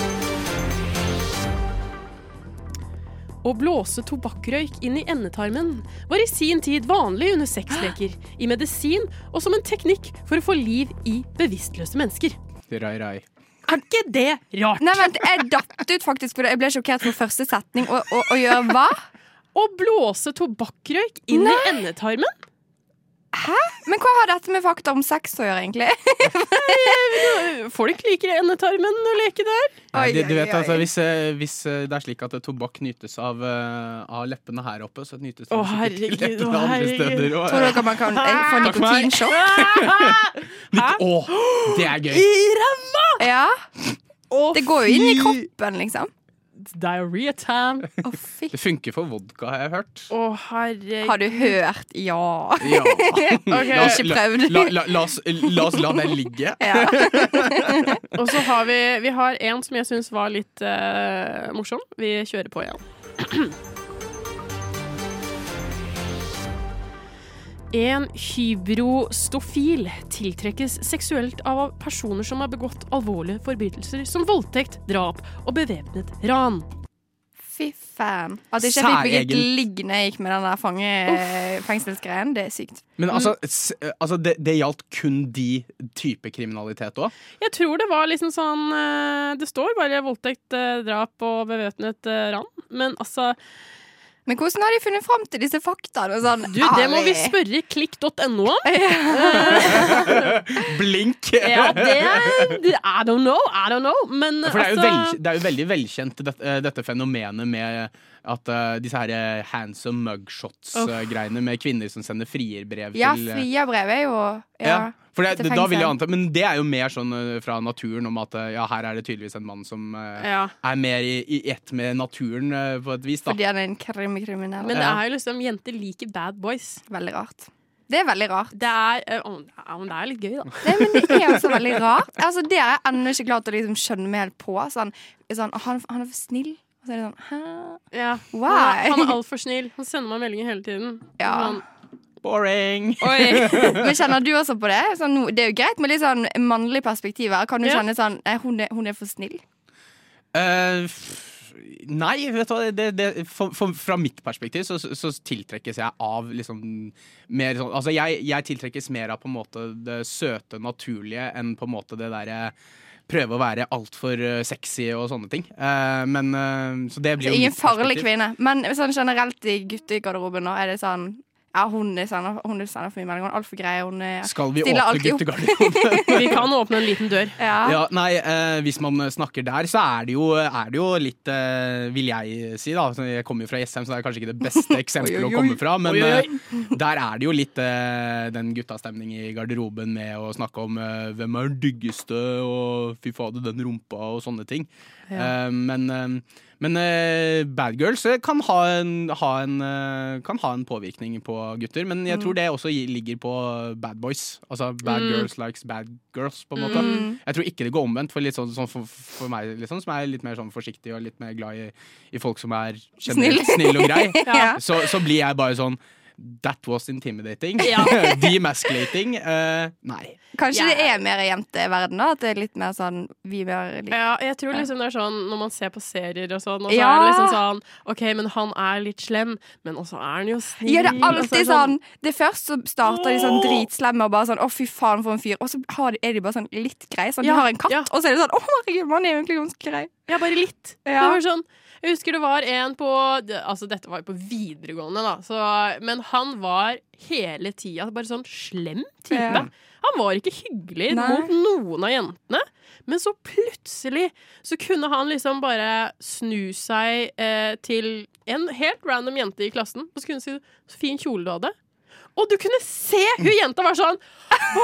A: Å blåse tobakkrøyk inn i endetarmen var i sin tid vanlig under sexleker, i medisin og som en teknikk for å få liv i bevisstløse mennesker.
C: Riktig rai-rai.
A: Er ikke det rart?
B: Nei, vent, jeg datt ut faktisk, for jeg ble sjokkert for første setning. Å, å, å gjøre hva?
A: Å blåse tobakkrøyk inn i endetarmen?
B: Men hva har dette med fakta om sex å gjøre, egentlig?
A: Folk liker endetarmen å leke der.
C: Nei,
B: Oi,
C: du, du
B: oi,
C: vet
B: oi.
C: altså, hvis, eh, hvis eh, det er slik at eh, tobakk nytes av, eh, av leppene her oppe, så nytes det
A: Å,
C: sikkert
A: herregud,
C: leppene
A: å,
C: andre
A: herregud.
C: steder også,
B: Tror
C: eh.
B: dere man kan eh, få
C: Takk for meg.
B: nikotinsjokk?
C: Nytt- Å, det er gøy!
B: Ja.
A: Å,
B: Det går jo inn i
A: fy.
B: kroppen, liksom.
A: Diarrhea time. Å,
B: Å, fy.
C: Det funker for vodka, har jeg hørt.
A: herregud.
B: Har du hørt? Ja. [laughs]
C: Ja.
B: Jeg har ikke
C: la,
B: prøvd.
C: la, la, la, oss, la oss la den ligge.
B: Ja.
A: Og så har vi, vi har en som jeg syns var litt eh, morsom. Vi kjører på igjen. En hybrostofil tiltrekkes seksuelt av personer som har begått alvorlige forbrytelser som voldtekt, drap og bevæpnet ran.
B: Fy faen. At ikke jeg fikk
C: Særegent.
B: bygget ligg når jeg gikk med den der fange, fengselsgreien, det er sykt.
C: Men altså,
B: Mm.
C: s, eh, altså det, det gjaldt kun de type kriminalitet òg.
A: Jeg tror det var liksom sånn eh, Det står bare voldtekt, eh, drap og bevæpnet eh, ran. Men altså
B: Men hvordan har de funnet fram til disse faktaene? Sånn,
A: Du, det må vi
B: ærlig.
A: spørre klikk.no [laughs] om.
C: Blink!
A: Ja, det er I don't know, I don't know. Men
C: For det er, jo
A: altså
C: vel, det er jo veldig velkjent, dette, eh, dette fenomenet med at eh, disse her eh, handsome mugshots-greiene med kvinner som sender frierbrev
B: Ja,
C: til eh,
B: Friabrevet er jo ja.
C: Ja, for det,
B: til
C: det, da vil jeg
B: fengsel.
C: anta, Men det er jo mer sånn eh, fra naturen om at eh, ja, her er det tydeligvis en mann som eh,
A: ja.
C: er mer i, i ett med naturen eh, på et vis, da.
B: Fordi han er en krimkriminell.
A: Men det
C: Ja.
A: er jo liksom Jenter liker bad boys.
B: Veldig rart. Det er veldig rart.
A: Det er, eh, om- ja, men det er litt gøy, da.
B: Nei, men det er også veldig rart. Altså, det har jeg ennå ikke klart å liksom skjønne meg helt på. Sånn, sånn, «Å, han, han er for snill. Og så er det sånn Hæ?
A: Ja.
B: Why?
A: Han er- Han er altfor snill. Han sender meg meldinger hele tiden.
B: Ja.
A: Han-
C: Boring!
B: [laughs]
A: Oi!
B: Men kjenner du også på det? Sånn, nå- det er jo greit med litt sånn mannlig perspektiv her. Kan du
A: Ja.
B: kjenne sånn Nei, hun er, hun er for snill.
C: Eh, f- nei, vet du hva. Det, det, for, for, fra mitt perspektiv så, så tiltrekkes jeg av liksom mer sånn Altså, jeg, jeg tiltrekkes mer av på en måte det søte, naturlige enn på en måte det derre Prøve å være altfor eh, sexy og sånne ting. Eh, men eh, Så det blir
B: Så
C: jo
B: ingen
C: mitt
B: farlig
C: perspektiv.
B: kvinne. Men sånn generelt i guttegarderoben nå er det sånn ja, hun er sender, hun er sender for mye meldinger. Hun er altfor grei. Hun er
C: Skal vi
B: Stiller
C: åpne
B: alltid opp.
C: guttegarderoben?
A: Vi kan åpne en liten dør.
B: ja.
C: Ja, nei, eh, hvis man snakker der, så er det jo, er det jo litt eh, Vil jeg si, da. så Jeg kommer jo fra Jessheim, så det er kanskje ikke det
A: [laughs]
C: beste eksempelet
B: Oi, oi,
C: å komme
B: oi.
C: fra. Men
A: Oi, oi, oi.
C: eh, der er det jo litt eh, den guttastemning i garderoben med å snakke om eh, hvem er diggeste, og fy fader, den rumpa, og sånne ting. Eh, men eh, men eh, bad girls eh, kan ha, en, ha en, eh, kan ha en påvirkning på gutter, men jeg tror det også gi- ligger på bad boys. Altså bad
A: Mm.
C: girls likes bad girls, på en
B: Mm.
C: måte. Jeg tror ikke det går omvendt, for, litt sånn, sånn for, for meg liksom, som er litt mer sånn forsiktig og litt mer glad i, i folk som er generelt snill, og grei,
B: [laughs] Ja.
C: så, så blir jeg bare sånn That was intimidating.
A: Ja.
C: [laughs] Demasculating. eh, nei.
B: Kanskje
A: Ja.
B: det er mer i jenteverden, da? At det er litt mer sånn vi mer liker.
A: Ja, jeg tror liksom det er sånn når man ser på serier og sånn, og så
B: Ja.
A: er det liksom sånn OK, men han er litt slem, men også er han jo snill.
B: Ja, det er
A: Mm, og så
B: alltid sånn Det er Først så starter de sånn dritsslemme og bare sånn 'Å, fy faen, for en fyr'. Og så har de, er de bare sånn litt greie. Sånn,
A: Ja,
B: De har en katt,
A: ja.
B: og så er det sånn 'Å, herregud, man er jo egentlig ganske grei'.
A: Ja, bare litt.
B: Ja.
A: Det var sånn Jeg husker det var en på det- Altså, dette var jo på videregående, da, så, men han var hele tida bare sånn slem type.
B: Ja.
A: Han var ikke hyggelig
B: Nei.
A: mot noen av jentene. Men så plutselig så kunne han liksom bare snu seg eh, til en helt random jente i klassen, og så kunne han si 'så fin kjole du hadde'. Og du kunne se hun jenta var sånn Å,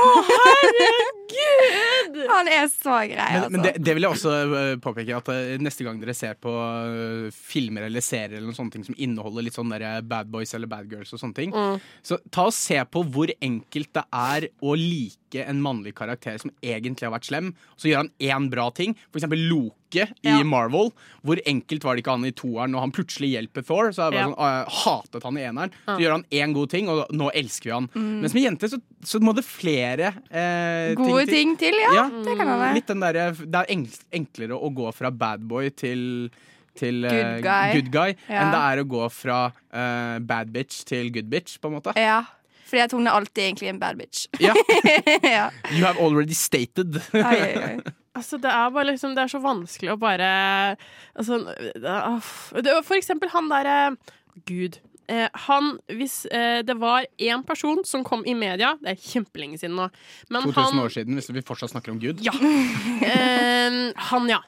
A: herregud!
B: Han er så grei,
C: Men,
B: altså.
C: men det, det vil jeg også eh, påpeke, at eh, neste gang dere ser på eh, filmer eller serier eller noen sånne ting som inneholder litt sånn derre bad boys eller bad girls og sånne ting,
A: Mm.
C: så ta og se på hvor enkelt det er å like en mannlig karakter som egentlig har vært slem, så gjør han én bra ting, for eksempel Loke. I
A: Ja.
C: Marvel Hvor enkelt var det ikke han i toeren når han plutselig hjelper Thor? Så er det bare
A: Ja.
C: sånn, «Å, jeg hatet han i eneren Så gjør han én god ting, og nå elsker vi han. Men som jente så, så må det flere eh,
B: Gode
C: til.
B: ting til, ja.
C: Ja.
B: Det kan han være.
C: Litt den derre- det er enk- enklere å gå fra bad boy til til eh,
B: Good guy.
C: good guy
A: [laughs]
B: Ja.
C: enn det er å gå fra eh, bad bitch til good bitch, på en måte.
B: Ja. Fordi at hun er alltid egentlig en bad bitch. [laughs]
C: Ja.
B: ja.
C: You have already stated.
B: Ai, ai, ai.
A: Altså, det er bare liksom Det er så vanskelig å bare Altså det er- aff. Det var For eksempel han derre Gud. Eh, han, hvis eh, det var én person som kom i media Det er kjempelenge siden nå. Men
C: 2000 år siden, hvis vi fortsatt snakker om Gud.
A: Ja. Eh, han, ja.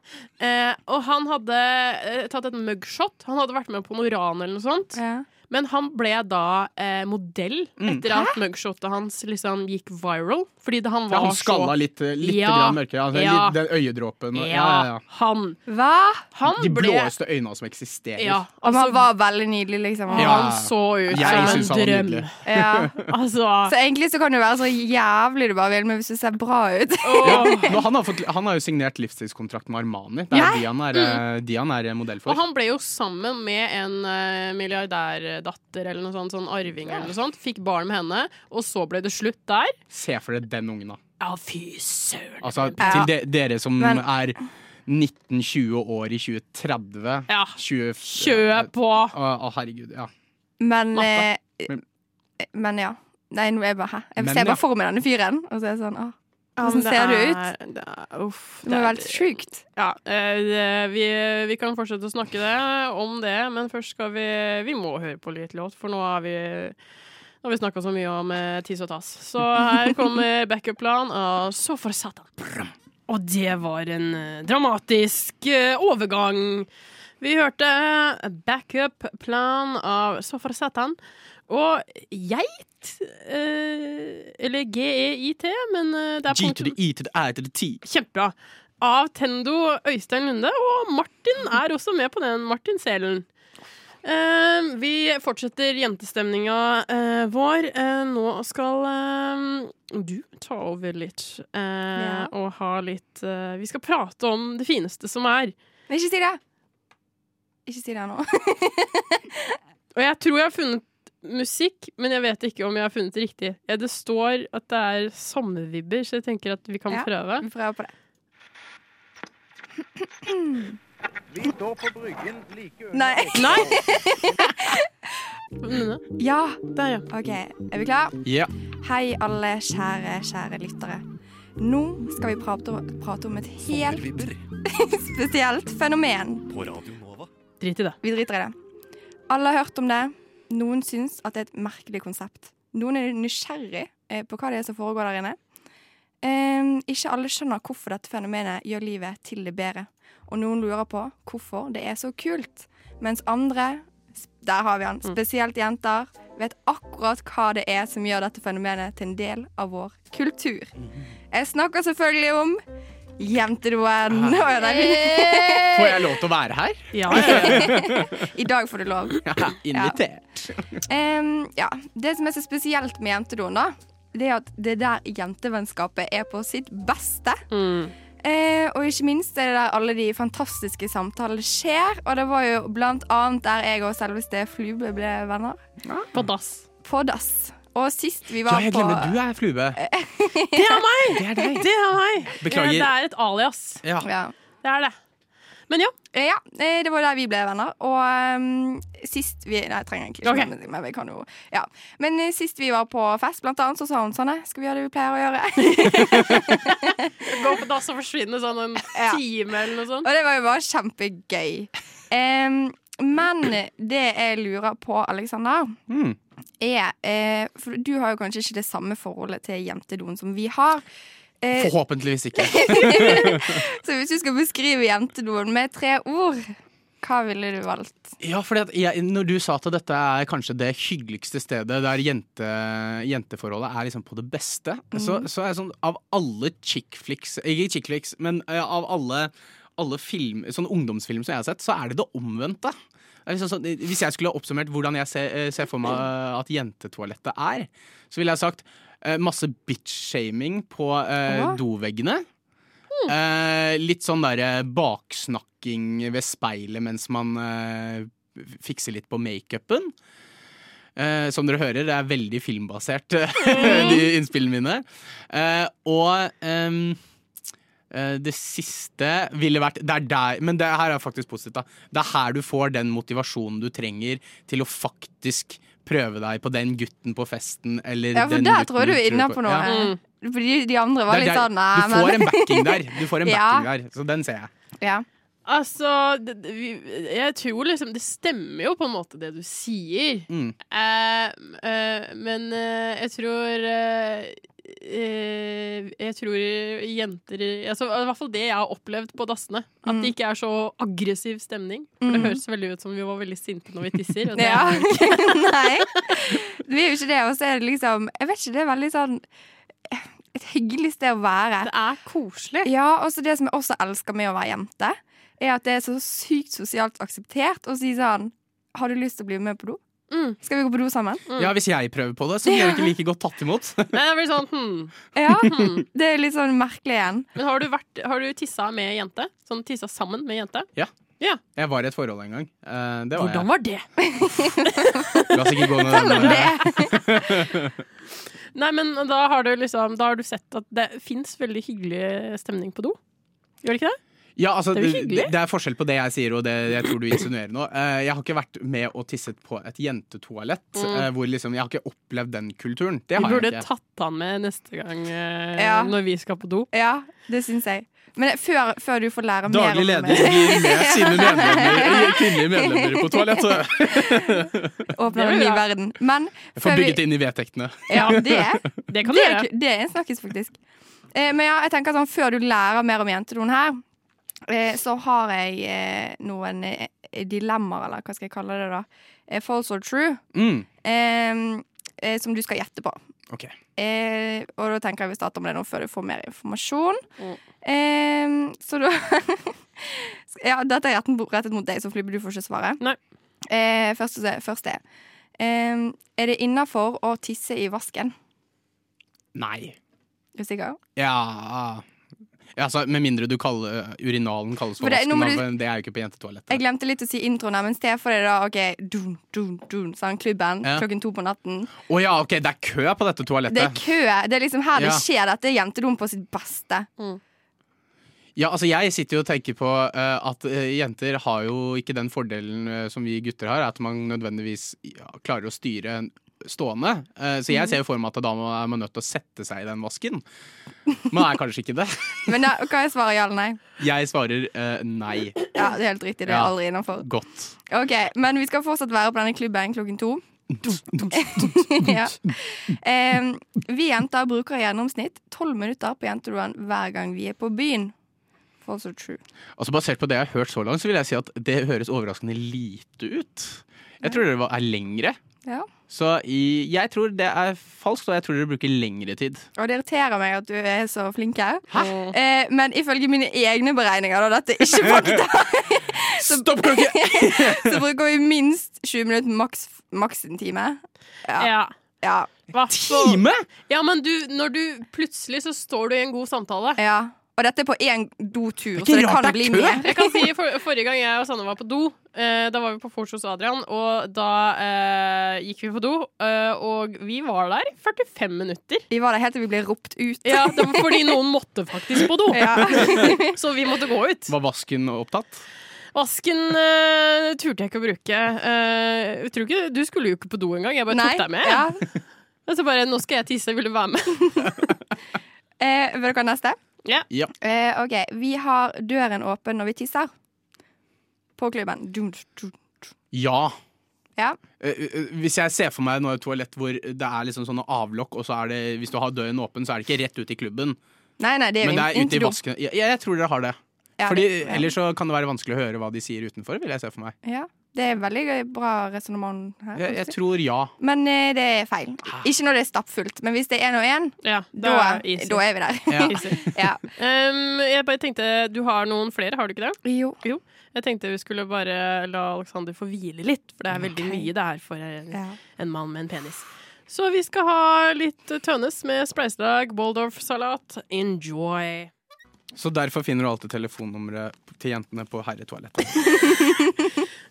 A: Eh, og han hadde eh, tatt et mugshot. Han hadde vært med på noe ran eller noe sånt.
B: Ja.
A: Men han ble da eh, modell
C: Mm.
A: etter at mugshotet hans liksom gikk viral. Fordi det, han
C: Ja,
A: var
C: han skalla
A: så
C: litt, eh, litt
A: Ja.
C: grann mørkere. Altså,
A: Ja.
C: litt- Den øyedråpen.
A: Ja,
C: og- Ja, ja, ja.
A: han.
B: Hva?
A: Han
C: De
A: ble
C: blåeste øynene som eksisterer.
A: Ja,
B: Om
A: altså,
B: han var veldig nydelig, liksom.
A: han
C: Ja.
A: så ut
C: Jeg synes
A: som en
C: han var
A: drøm.
C: nydelig. [laughs]
B: Ja.
A: [laughs] Altså
B: Så egentlig så kan du være så jævlig du bare vil, men hvis du ser bra ut
C: Ja,
A: og,
C: nå, han, har fått, han har jo signert livstidskontrakt med Armani. Det er
B: Ja.
C: jo de han er, eh, de han er modell for.
A: Mm. og han ble jo sammen med en eh, milliardærdatter eller noe sånt, sånn arving eller noe sånt. Fikk barn med henne, og så ble det slutt der.
C: Se for deg den ungen, da.
A: Ja, fy søren.
C: Altså,
B: Ja.
C: Til de, dere som
B: Men-
C: er 19-20 år i 2030
A: Ja.
C: 20,
A: Kjøp på.
C: Å, å, herregud. Ja.
B: Men,
A: Matte.
B: eh, men ja. Nei, nå er jeg bare hæ? Jeg
C: Men
B: ser
C: ja.
B: bare for meg denne fyren, og så er jeg sånn åh,
A: Ja,
B: Hvordan
A: men
B: ser det
A: er- Det er, uff,
B: Det må jo være helt sjukt.
A: Ja, eh, det, vi, vi kan fortsette å snakke det, om det, men først skal vi Vi må høre på litt låt, for nå har vi nå har vi snakka så mye om eh, tiss og tass. Så her kommer backup-plan av Så for satan. Brum. Og det var en eh, dramatisk eh, overgang. Vi hørte backup-plan av Så for satan. Og geit eh, Eller GEIT, men eh, det er
C: G
A: punktum-
C: to the E to the I to the T.
A: Kjempebra. Av Tendo Øystein Lunde, og Martin er også med på den. Martin Selen. Eh, vi fortsetter jentestemninga eh, vår. Eh, nå skal eh, du ta over litt. eh,
B: Ja.
A: Og ha litt eh, Vi skal prate om det fineste som er.
B: Men ikke si det! Ikke si det nå. [laughs]
A: Og jeg tror jeg har funnet musikk, men jeg vet ikke om jeg har funnet det riktig. Ja, det står at det er sommervibber, så jeg tenker at vi kan
B: Ja.
A: prøve.
B: [laughs] Vi prøver på det.
D: Vi står på bryggen like under
B: Nei.
A: Nei! [laughs] Nina,
B: Ja,
A: Der, ja.
B: OK. Er vi klar?
C: Ja.
B: Hei, alle kjære, kjære lyttere. Nå skal vi prate om, prate om et helt
D: Sommervibber
B: spesielt fenomen.
D: på Radio Nova.
A: Drit i det.
B: Vi driter i det. Alle har hørt om det. Noen syns at det er et merkelig konsept. Noen er nysgjerrig eh, på hva det er som foregår der inne. Ehm, ikke alle skjønner hvorfor dette fenomenet gjør livet til det bedre. Og noen lurer på hvorfor det er så kult. Mens andre, s- der har vi han, spesielt jenter, vet akkurat hva det er som gjør dette fenomenet til en del av vår kultur. Jeg snakker selvfølgelig om jentedoen. Å, nei, vi-
C: Får jeg lov til å være her?
A: Ja, ja, ja.
B: [laughs] I dag får du lov.
C: Invitert.
B: Ehm, ja. Det som er så spesielt med jentedoen, da, det er at det er der jentevennskapet er på sitt beste.
A: [laughs] Mm.
B: Eh, og ikke minst er det der alle de fantastiske samtalene skjer. Og det var jo blant annet der jeg og selveste Flube ble venner.
A: På dass.
B: På dass. Og sist vi
C: Ja,
B: var
C: jeg
B: på
C: glemmer du er flue.
A: Det er meg!
C: Det er deg.
A: Det er meg!
C: Beklager.
A: Eh, Det er et alias.
C: Ja.
B: Ja.
A: Det er det. Men ja.
B: Eh, Ja, eh, det var der vi ble venner. Og ehm, sist vi Nei, jeg trenger egentlig ikke
A: Ok.
B: men- men vi kan jo ja. Men eh, sist vi var på fest, blant annet, så sa hun sånn eh, Skal vi gjøre det vi pleier å gjøre?
A: Gå på dass og forsvinne sånn en
B: Ja.
A: time eller noe sånt.
B: og det var jo bare kjempegøy. Ehm, men det jeg lurer på, Aleksander,
C: Mm.
B: er eh, For du har jo kanskje ikke det samme forholdet til jentedoen som vi har. Eh,
C: Forhåpentligvis ikke.
B: så hvis du skal beskrive jentedoen med tre ord, hva ville du valgt?
C: Ja, fordi at jeg, Når du sa at dette er kanskje det hyggeligste stedet der jente, jenteforholdet er liksom på det beste, så, så er det sånn av alle chick flicks Ikke chick flicks, men eh, av alle, alle film, sånn ungdomsfilm som jeg har sett, så er det det omvendte. Det er Liksom sånn, eh, hvis jeg skulle ha oppsummert hvordan jeg ser, eh, ser for meg eh, at jentetoalettet er, så ville jeg sagt eh, masse bitch-shaming på eh,
B: Åh.
C: doveggene. Eh, litt sånn der eh, baksnakking ved speilet mens man eh, fikser litt på makeupen. Eh, som dere hører, det er veldig filmbasert, eh, de innspillene mine. Eh, og ehm, eh, det siste ville vært Det er der, men det her er faktisk positivt. da Det er her du får den motivasjonen du trenger til å faktisk prøve deg på den gutten på festen, eller
B: Ja, for
C: den
B: der
C: gutten
B: tror jeg du er
C: tror
B: inne
C: på-
B: på noe.
C: Ja.
A: Mm.
B: Fordi de andre var
C: Det er
B: litt
C: der-
B: sånn Nei,
C: du får
B: men
C: en backing der,
B: [laughs]
C: Du får en
B: Ja.
C: backing der, så den ser jeg.
B: ja.
A: Altså, det, det, vi, jeg tror liksom Det stemmer jo på en måte det du sier.
C: Mm.
A: Eh, eh, men eh, jeg tror eh, eh, Jeg tror jenter altså, I hvert fall det jeg har opplevd på dassene. At det ikke er så aggressiv stemning. For Det
B: Mhm.
A: høres veldig ut som vi var veldig sinte når vi tisser. Og det,
B: Ja. [laughs] Nei. Vi er jo ikke det. Og så er det liksom Jeg vet ikke, det er veldig sånn Et hyggelig sted å være.
A: det er koselig.
B: [laughs] Ja, og så det som jeg også elsker med å være jente, er at det er så sykt sosialt akseptert å si sånn Har du lyst til å bli med på do?
A: Mm.
B: Skal vi gå på do sammen?
C: Ja, hvis jeg prøver på det, så blir jeg ikke like godt tatt imot. [laughs]
A: Nei, det blir sånn hmm.
B: Ja,
A: [laughs] hmm.
B: Det er litt sånn merkelig igjen.
A: Men har du, vært, har du tissa med jente? Sånn tissa sammen med jente?
C: Jeg var i et forhold en gang. Eh, det var
A: Hvordan var det?
C: jeg. La oss
B: [laughs]
C: ikke gå ned
B: Selv om
C: den-
B: det
A: Nei, men da har du liksom Da har du sett at det fins veldig hyggelig stemning på do. Gjør det ikke det?
C: Ja, altså,
A: Det
C: det,
A: er jo
C: det,
A: hyggelig.
C: er forskjell på det jeg sier og det jeg tror du insinuerer nå. Eh, jeg har ikke vært med og tisset på et jentetoalett. eh, hvor liksom, Jeg har ikke opplevd den kulturen. Det
A: Vi
C: har
A: burde
C: jeg ikke.
A: tatt han med neste gang eh,
B: Ja.
A: når vi skal på do.
B: Ja, det syns jeg. Men før, før du får lære mer
C: Daglig
B: om
C: leder gir med sine medlemmer, kvinnelige medlemmer på toalettet.
B: [laughs] åpner en
A: Det
B: ny
A: er bra.
B: verden Men
C: Jeg får
B: før vi-
C: bygget det inn i vedtektene.
B: Ja,
A: [laughs]
B: det er
A: Det kan du
B: det,
A: gjøre.
B: er- det er en snakkes, faktisk. Eh, men ja, jeg tenker sånn, før du lærer mer om jentedoen her, eh, så har jeg eh, noen eh, dilemmaer, eller hva skal jeg kalle det da? Eh, false or true,
C: Mm.
B: eh, eh, som du skal gjette på.
C: Ok.
B: Eh, og da tenker jeg vi starter med det nå før du får mer informasjon.
A: Mm.
B: Eh, så da [laughs] Ja, dette er rettet, rettet mot deg, så Flibbe, du får ikke svare.
A: Nei.
B: Eh, første, første er eh, Er det innafor å tisse i vasken?
C: Nei.
B: Er du sikker?
C: Ja Ja, altså, Med mindre du kaller urinalen kalles for
B: For det-
C: vasken,
B: nå må
C: da,
B: du-
C: men det er jo ikke på
B: Jeg
C: jentetoalettet.
B: glemte litt å si introen her, men se for deg da ok, dun, dun, dun, sånn, klubben
C: Ja.
B: klokken to på natten.
C: Å ja, ok, det er kø på dette
B: Det er
C: toalettet.
B: kø. Det er liksom her
C: Ja.
B: det skjer. Dette er jentedom på sitt beste.
C: Ja, altså Jeg sitter jo og tenker på eh, at eh, jenter har jo ikke den fordelen eh, som vi gutter har, at man nødvendigvis ja, klarer å styre en stående. Eh, så jeg ser jo for meg at da må- er man nødt til å sette seg i den vasken. Man er kanskje ikke det.
B: Men da, hva er svaret ja eller nei?
C: Jeg svarer eh, nei.
B: Ja, det er helt riktig. Det er
C: Ja.
B: aldri innafor.
C: Godt.
B: Ok, Men vi skal fortsatt være på denne klubben klokken to. [laughs] ja. eh, vi jenter bruker i gjennomsnitt tolv minutter på jentedoen hver gang vi er på byen. False or true.
C: Altså Basert på det jeg har hørt så langt, så vil jeg si at det høres overraskende lite ut. Jeg tror det var- er lengre.
B: Ja.
C: Så i, jeg tror det er falskt, og jeg tror dere bruker lengre tid.
B: Og det irriterer meg at du er så flink her.
A: Hæ?
B: Eh, men ifølge mine egne beregninger, da, dette er
C: [laughs]
B: ikke fakta,
C: Stopp klokke!
B: så bruker vi minst 20 minutter, maks, maks en time. Ja.
A: Ja.
B: Ja.
A: Hva så-
C: Time!
A: Ja, men du, når du plutselig så står du i en god samtale.
B: ja. Og dette er på én dotur,
C: Det er ikke
B: så det
C: rart
B: kan
C: det er
B: bli
C: kø.
B: mer.
A: Jeg kan si for, Forrige gang jeg og Sanne var på do, eh, da var vi på Forts hos Adrian, og da eh, gikk vi på do, eh, og vi var der 45 minutter.
B: Vi var der helt til vi ble ropt ut.
A: Ja, [laughs] det var fordi noen måtte faktisk på do,
B: [laughs] Ja.
A: så vi måtte gå ut.
C: Var vasken opptatt?
A: Vasken eh, turte jeg ikke å bruke. Eh, jeg tror ikke, du skulle jo ikke på do engang. Jeg bare
B: Nei.
A: tok deg med.
B: Ja.
A: Og så bare 'Nå skal jeg tisse, vil du være med?'
B: Eh, vil dere ha neste?
A: Ja.
C: Ja.
B: Eh, OK. Vi har døren åpen når vi tisser. På klubben. Dun, dun.
C: Ja.
B: Ja.
C: Eh, eh, Hvis jeg ser for meg nå et toalett hvor det er liksom sånne avlokk, og så er det, hvis du har døren åpen, så er det ikke rett ut i klubben,
B: Nei, nei, det er
C: men
B: jo
C: det
B: in-
C: er ute i
B: interdom.
C: vasken. Ja, jeg tror dere har det.
B: Ja,
C: Fordi
B: det- ja.
C: Ellers så kan det være vanskelig å høre hva de sier utenfor, vil jeg se for meg.
B: Ja. Det er veldig gøy- bra resonnement her.
C: Jeg, jeg tror Ah. ja.
B: Men eh, det er feil. Ikke når det er stappfullt, men hvis det er én og én,
A: Ja,
B: da,
A: da er det easy.
B: da er vi der.
C: ja.
A: [laughs] Easy.
B: [laughs] ja.
A: Em, jeg bare tenkte, Du har noen flere, har du ikke det?
B: Jo.
A: Jo. Jeg tenkte vi skulle bare la Alexander få hvile litt, for det er veldig mye det er for eh, en,
B: Ja.
A: en mann med en penis. Så vi skal ha litt eh, Tønnes med spleiselag, Boldorf-salat. Enjoy!
C: Så derfor finner du alltid telefonnummeret til jentene på herretoalettet.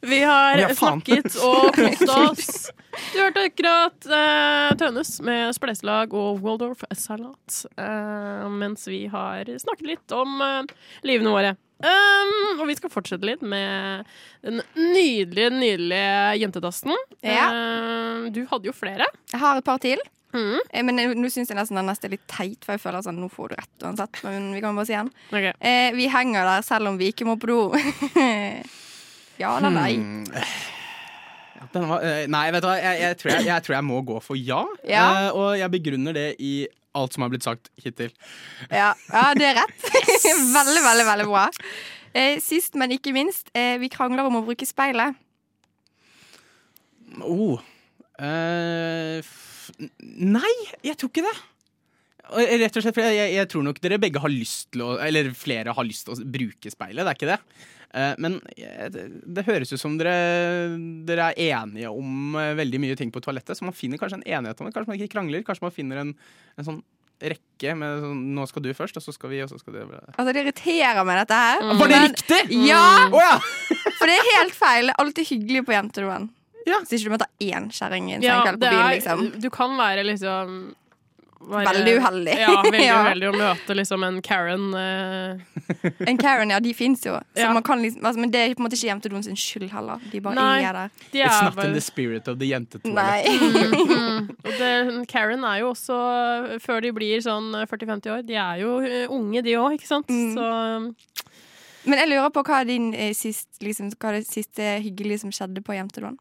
A: Vi har
C: Ja, faen.
A: snakket
C: [laughs]
A: og kost oss. Du hørte akkurat eh, Tønnes med spleiselag og Waldorf Salat. eh, mens vi har snakket litt om eh, livene våre. Um, og vi skal fortsette litt med den nydelige, nydelige jentedassen. Um, du hadde jo flere.
B: Jeg har et par til.
A: Mm.
B: Eh, Men eh, nå syns jeg nesten den neste er litt teit, for jeg føler sånn nå får du rett uansett. Men vi kan bare si den.
A: Ok.
B: Eh, vi henger der selv om vi ikke må på do. [laughs] ja eller nei?
C: Hmm. Ja, Mm. Den var, eh, nei, vet du hva, jeg, jeg, tror jeg, jeg tror jeg må gå for ja.
B: Ja.
C: Eh, og jeg begrunner det i alt som har blitt sagt hittil.
B: Ja, ja det er rett. [laughs] veldig, veldig, veldig bra. Eh, sist, men ikke minst, eh, vi krangler om å bruke speilet.
C: Oh. Eh, f nei, jeg tror ikke det. Og jeg- Rett og slett, for jeg, jeg tror nok dere begge har lyst til å Eller flere har lyst til å bruke speilet, det er ikke det. Eh, men jeg- det, det høres ut som dere, dere er enige om eh, veldig mye ting på toalettet, så man finner kanskje en enighet om det. Kanskje man ikke krangler, kanskje man finner en, en sånn rekke med sånn Nå skal du først, og så skal vi, og så skal du
B: Altså, det irriterer meg, dette her.
C: Var det
B: Mm. Men-
C: riktig?!
B: Ja!
C: Å ja!
B: For det er helt feil. Det er alltid hyggelig på jentedoen.
C: Ja.
B: Så ikke du må ta én kjerring i en
A: Ja,
B: sengekveld
A: det
B: på byen,
A: er-
B: liksom.
A: Du kan være liksom være-
B: Veldig uheldig.
A: Ja, veldig
B: [laughs] Ja.
A: uheldig å møte liksom en Karen. eh,
B: En Karen, ja, de fins jo. Så
A: Ja.
B: man kan liksom, altså, men det er på en måte ikke jentedoen sin skyld heller. De bare
A: Nei.
B: er der.
A: de
C: It's
A: er
C: not in
A: bare
C: the spirit of the jentetoalet.
B: Nei.
A: Mm. [laughs] Og det, Karen er jo også, før de blir sånn 40-50 år, de er jo eh, unge de òg, ikke sant?
B: Mm.
A: Så
B: [laughs]
A: um,
B: Men jeg lurer på hva er din eh, sist, liksom, hva er det siste hyggelige som skjedde på jentedoen?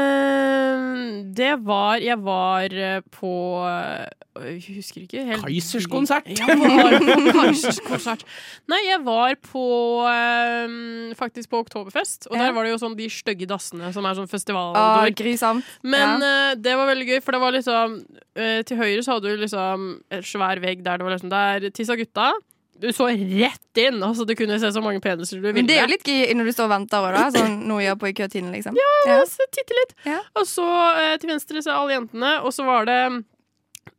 A: eh, Det var Jeg var eh, på eh, Jeg husker ikke helt
C: Kaisers konsert!
A: Ja, jeg var på Kaisers konsert. Nei, jeg var på eh, faktisk på Oktoberfest, og
B: Ja.
A: der var det jo sånn de stygge dassene som er sånn festival...
B: Å, Ah, Grusomt.
A: Men eh, det var veldig gøy, for det var liksom eh, Til høyre så hadde du liksom en svær vegg der det var liksom Der tissa gutta. Du så rett inn! Altså, du kunne se så mange peniser du ville.
B: Men det er jo litt gøy når du står og venter òg, da.
A: [clears throat]
B: Sånn noe gjør på i køtiden, liksom.
A: Ja, så titte litt.
B: Ja.
A: Og så eh, til venstre så er alle jentene, og så var det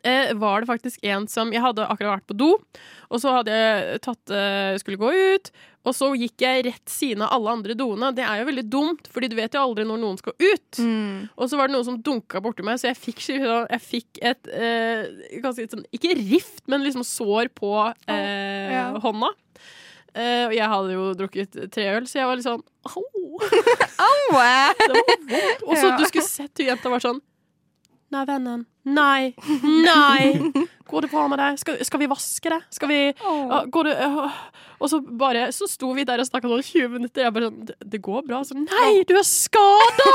A: eh, var det faktisk en som Jeg hadde akkurat vært på do, og så hadde jeg tatt eh, skulle gå ut. Og så gikk jeg rett siden av alle andre doene. Det er jo veldig dumt, Fordi du vet jo aldri når noen skal ut.
B: Mm.
A: Og så var det noen som dunka borti meg, så jeg fikk, skikkelig sånn- jeg fikk et eh, ganske litt sånn, Ikke rift, men liksom sår på eh,
B: ja.
A: hånda. Eh, og jeg hadde jo drukket tre øl, så jeg var litt sånn Au!
B: Wow.
A: Det var
B: [laughs]
A: vondt. Og så
B: Ja.
A: du skulle sett hun jenta var sånn Nei, vennen.
B: [laughs]
A: Nei. Nei! Går det bra med deg? Skal, skal vi vaske deg? Skal vi ja, Går det øh. Og så bare Så sto vi der og snakka sånn 20 minutter. Jeg bare sånn Det, det går bra. Så nei, du er skada!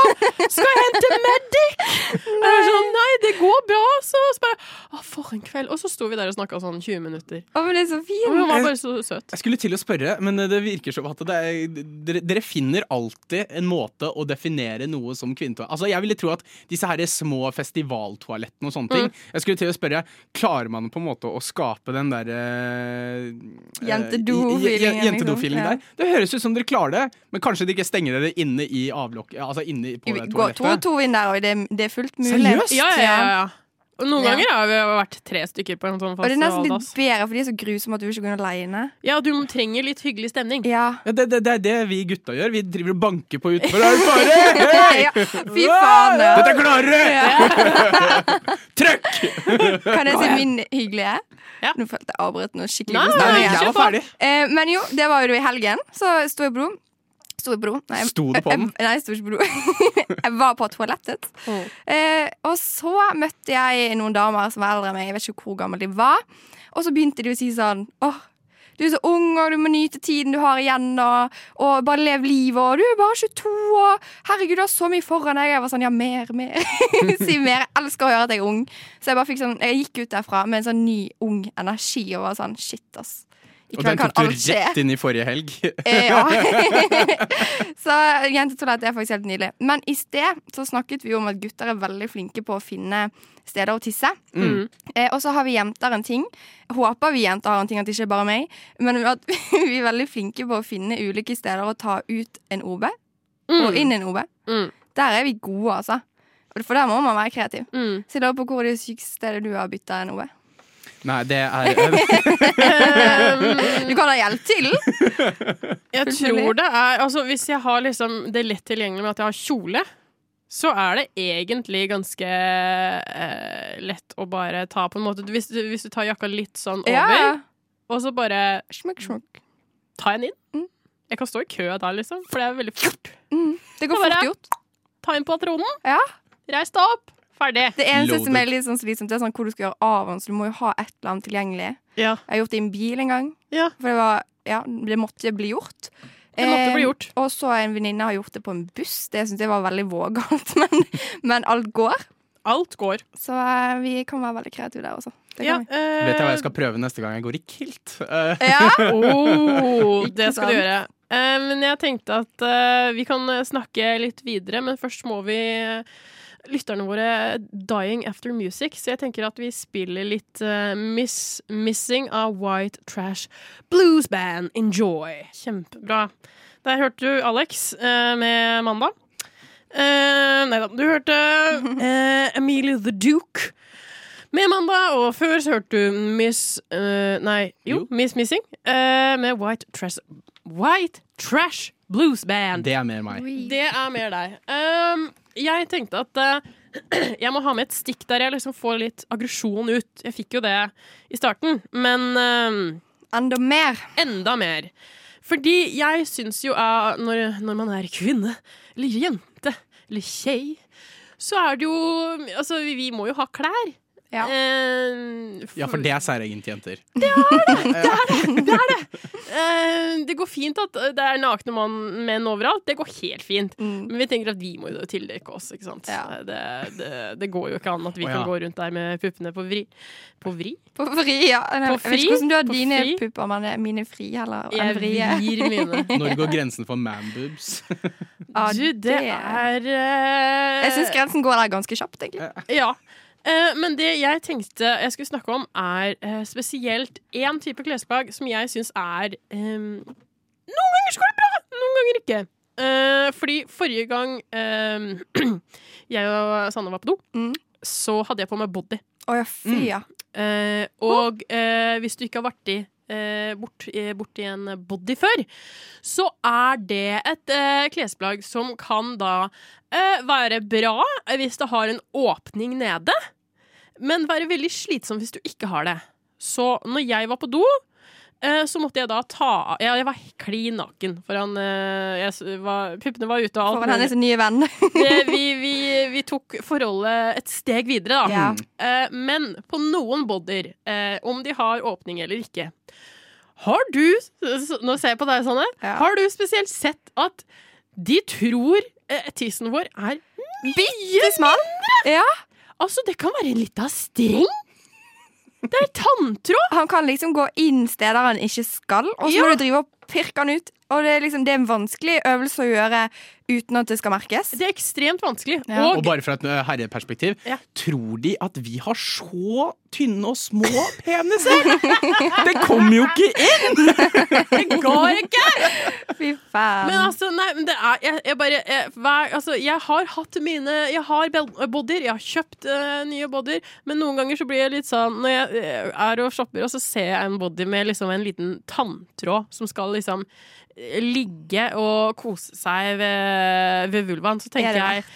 A: Skal jeg hente medic? Jeg bare sånn Nei, det går bra, så. så bare Å, for en kveld. Og så sto vi der og snakka sånn 20 minutter.
B: Å, men det er så
A: Og hun
B: fint.
A: var bare så søt.
C: Jeg skulle til å spørre, men det virker som at det er, dere, dere finner alltid en måte å definere noe som kvinnetoalett Altså, Jeg ville tro at disse her små festivaltoalettene og sånne
B: Mm.
C: ting Jeg skulle til å spørre, Klarer man på en måte å skape den der eh,
B: Jentedo-feelingen,
C: eh, jentedo-feelingen
B: liksom. Ja.
C: der? Det høres ut som dere klarer det, men kanskje de ikke stenger dere inne i avlokket? Altså inne på det
B: Gå to og
C: toalettet?
B: to inn der, og det, det er fullt mulig.
C: Seriøst?
A: Ja, ja, ja. ja. Og Noen
B: Ja.
A: ganger har vi vært tre stykker på en sånn
B: Og det er nesten litt
A: festivaldass.
B: bedre, for de er så grusomme at du ikke går inn aleine.
A: Ja, du trenger litt hyggelig stemning.
B: Ja. [laughs]
C: Ja, det, det, det er det vi gutta gjør. Vi driver og banker på
B: [laughs]
C: utenfor. Er det fare? Hei!
B: ja. Fy faen. ja.
C: Dette klarer du! [laughs] Trøkk!
B: Kan jeg si
C: [laughs]
B: min hyggelige?
A: Ja.
B: Nå følte jeg avbrøt noe skikkelig.
A: Nei,
B: på
A: nei,
B: starten.
A: nei,
B: Ja.
A: kjør
C: jeg var ferdig.
B: Eh, men jo, det var jo i helgen. Så sto jeg på do. Sto jeg på do? Nei, jeg-
C: Sto du på den?
B: Jeg, nei, jeg sto ikke på do. [laughs] jeg var på toalettet.
A: Mm.
B: Eh, og så møtte jeg noen damer som var eldre enn meg. Jeg vet ikke hvor gamle de var. Og så begynte de å si sånn Åh, du er så ung, og du må nyte tiden du har igjen, og, og bare lev livet, og du er bare 22, og herregud, du har så mye foran deg. Jeg var sånn, ja, mer, mer. [laughs] si mer. Jeg elsker å høre at jeg er ung. Så jeg bare fikk sånn, jeg gikk ut derfra med en sånn ny, ung energi, og var sånn, shit, ass. I
C: Og
B: kveld
C: den
B: kan
C: tok du
B: alt skje.
C: rett inn i forrige helg.
B: Eh, [laughs]
C: [laughs]
B: Ja. så jentetoalett er faktisk helt nydelig. Men i sted så snakket vi om at gutter er veldig flinke på å finne steder å tisse.
A: Mm.
B: Eh, og så har vi jenter en ting. Håper vi jenter har en ting, at det ikke er bare meg. Men at [laughs] vi er veldig flinke på å finne ulike steder å ta ut en OB og inn en OB.
A: Mm.
B: Der er vi gode, altså. For der må man være kreativ. [laughs]
A: Mm.
B: Så jeg lurer på hvor er det sykeste stedet du har bytta en OB.
C: Nei, det er
A: Mm.
B: Du kan da hjelpe
A: [laughs]
B: til!
A: Ehm, Jeg
B: Fullt mulig.
A: tror det er Altså, hvis jeg har liksom det lett tilgjengelig med at jeg har kjole, så er det egentlig ganske eh, lett å bare ta på en måte Hvis, du- hvis du tar jakka litt sånn over,
B: Ja.
A: og så bare
B: Smukk, smukk.
A: tar jeg den inn.
B: Mm.
A: Jeg kan stå i kø der, liksom, for det er veldig fort.
B: Det går
A: Kan være.
B: fort gjort.
A: Ta inn patronen,
B: Ja.
A: reis deg opp, ferdig.
B: Det eneste
C: Loaded.
B: som er litt sånn slitsomt, det er sånn hvor du skal gjøre av den, så du må jo ha et eller annet tilgjengelig.
A: Ja.
B: Jeg har gjort det i en bil en gang,
A: Ja.
B: for det var Ja, det måtte bli gjort.
A: Det måtte bli gjort.
B: Eh, og så en venninne har gjort det på en buss. Det syns jeg var veldig vågalt, [laughs] men, men alt går.
A: Alt går.
B: Så eh, vi kan være veldig kreative der også. Det
A: Ja, [laughs]
B: kan vi.
A: eh,
C: Vet jeg hva jeg skal prøve neste gang jeg går i kilt? Eh,
B: Ja.
A: Oh, det
B: Ikke
A: skal du
B: sant?
A: gjøre. Eh, men jeg tenkte at eh, vi kan snakke litt videre, men først må vi eh, Lytterne våre er dying after music, så jeg tenker at vi spiller litt eh, miss, Missing av White Trash Blues Band. Enjoy! Kjempebra. Der hørte du Alex eh, med Mandag. Eh, nei da, du hørte eh, Emilie the Duke med Mandag, og før så hørte du Miss eh, Nei, jo,
C: Jo.
A: Miss Missing eh, med White Trash, White Trash Blues Band.
C: det er mer meg.
A: Det er mer deg. Um, jeg tenkte at eh, [clears throat] jeg må ha med et stikk der jeg liksom får litt aggresjon ut. Jeg fikk jo det i starten, men um,
B: Enda mer.
A: enda mer. Fordi jeg syns jo at når, når man er kvinne, eller jente, eller kjei, så er det jo Altså, vi, vi må jo ha klær.
B: Ja.
A: Eh,
C: Ja, for det er særegent til jenter.
A: eh, det går fint at det er nakne mann- menn overalt. Det går helt fint.
B: Mm.
A: Men vi tenker at vi må jo tildekke oss, ikke sant.
B: Ja.
A: Det, det, det går jo ikke an at vi
C: Å, ja.
A: kan gå rundt der med puppene på vri. På vri?
B: På fri, ja.
A: På
B: jeg vet
A: fri?
B: ikke hvordan du har
A: På
B: dine
A: fri?
B: pupper, men eh, mine er fri heller. enn
A: Jeg
B: vrie.
A: vrir mine.
C: Når går grensen for manboobs?
B: [laughs] Ja,
A: Du, det er eh,
B: Jeg syns grensen går der ganske kjapt, egentlig.
A: Ja. Eh, men det jeg tenkte jeg skulle snakke om, er eh, spesielt én type klesplagg som jeg syns er ehm, Noen ganger så går det bra, noen ganger ikke. Eh, fordi forrige gang ehm, [clears throat] jeg og Sanne var på do,
B: Mm.
A: så hadde jeg på meg body.
B: Å ja,
A: Mm.
B: fy, ja.
A: Eh, og eh, hvis du ikke har vært i eh, bort, eh, borti en body før, så er det et eh, klesplagg som kan da eh, være bra hvis det har en åpning nede, men være veldig slitsom hvis du ikke har det. Så når jeg var på do eh, så måtte jeg da ta av ja, Jeg var klin naken foran eh, jeg, s- var, Puppene var ute og alt.
B: Foran hennes nye
A: [laughs]
B: venn.
A: Det, vi, vi, vi tok forholdet et steg videre, da.
B: Ja.
A: Eh, men på noen bodyer, eh, om de har åpning eller ikke Har du s- s- Nå ser jeg på deg, Sanne.
B: Ja.
A: Har du spesielt sett at de tror eh, tissen vår er
B: Bitte smal. Ja.
A: Altså, det kan være en lita streng! Det er tanntråd!
B: Han kan liksom gå inn steder han ikke skal, og så
A: Ja.
B: må du drive og pirke han ut. Og det er, liksom, det er en vanskelig øvelse å gjøre uten at det skal merkes.
A: Det er ekstremt vanskelig.
B: Ja.
A: Og,
C: Og bare fra et eh, herreperspektiv,
A: Ja.
C: tror de at vi har så tynne og små peniser? Det kommer jo ikke inn!
A: det går ikke!
B: Fy
A: Men
B: faen.
A: altså, nei, men det er Jeg, jeg bare jeg, hver, altså, jeg har hatt mine Jeg har bel- bodyer. Jeg har kjøpt eh, nye bodyer. Men noen ganger så blir jeg litt sånn Når jeg eh, er og shopper, og så ser jeg en body med liksom en liten tanntråd som skal liksom eh, ligge og kose seg ved, ved vulvaen, så
B: Er
A: tenker
B: det
A: jeg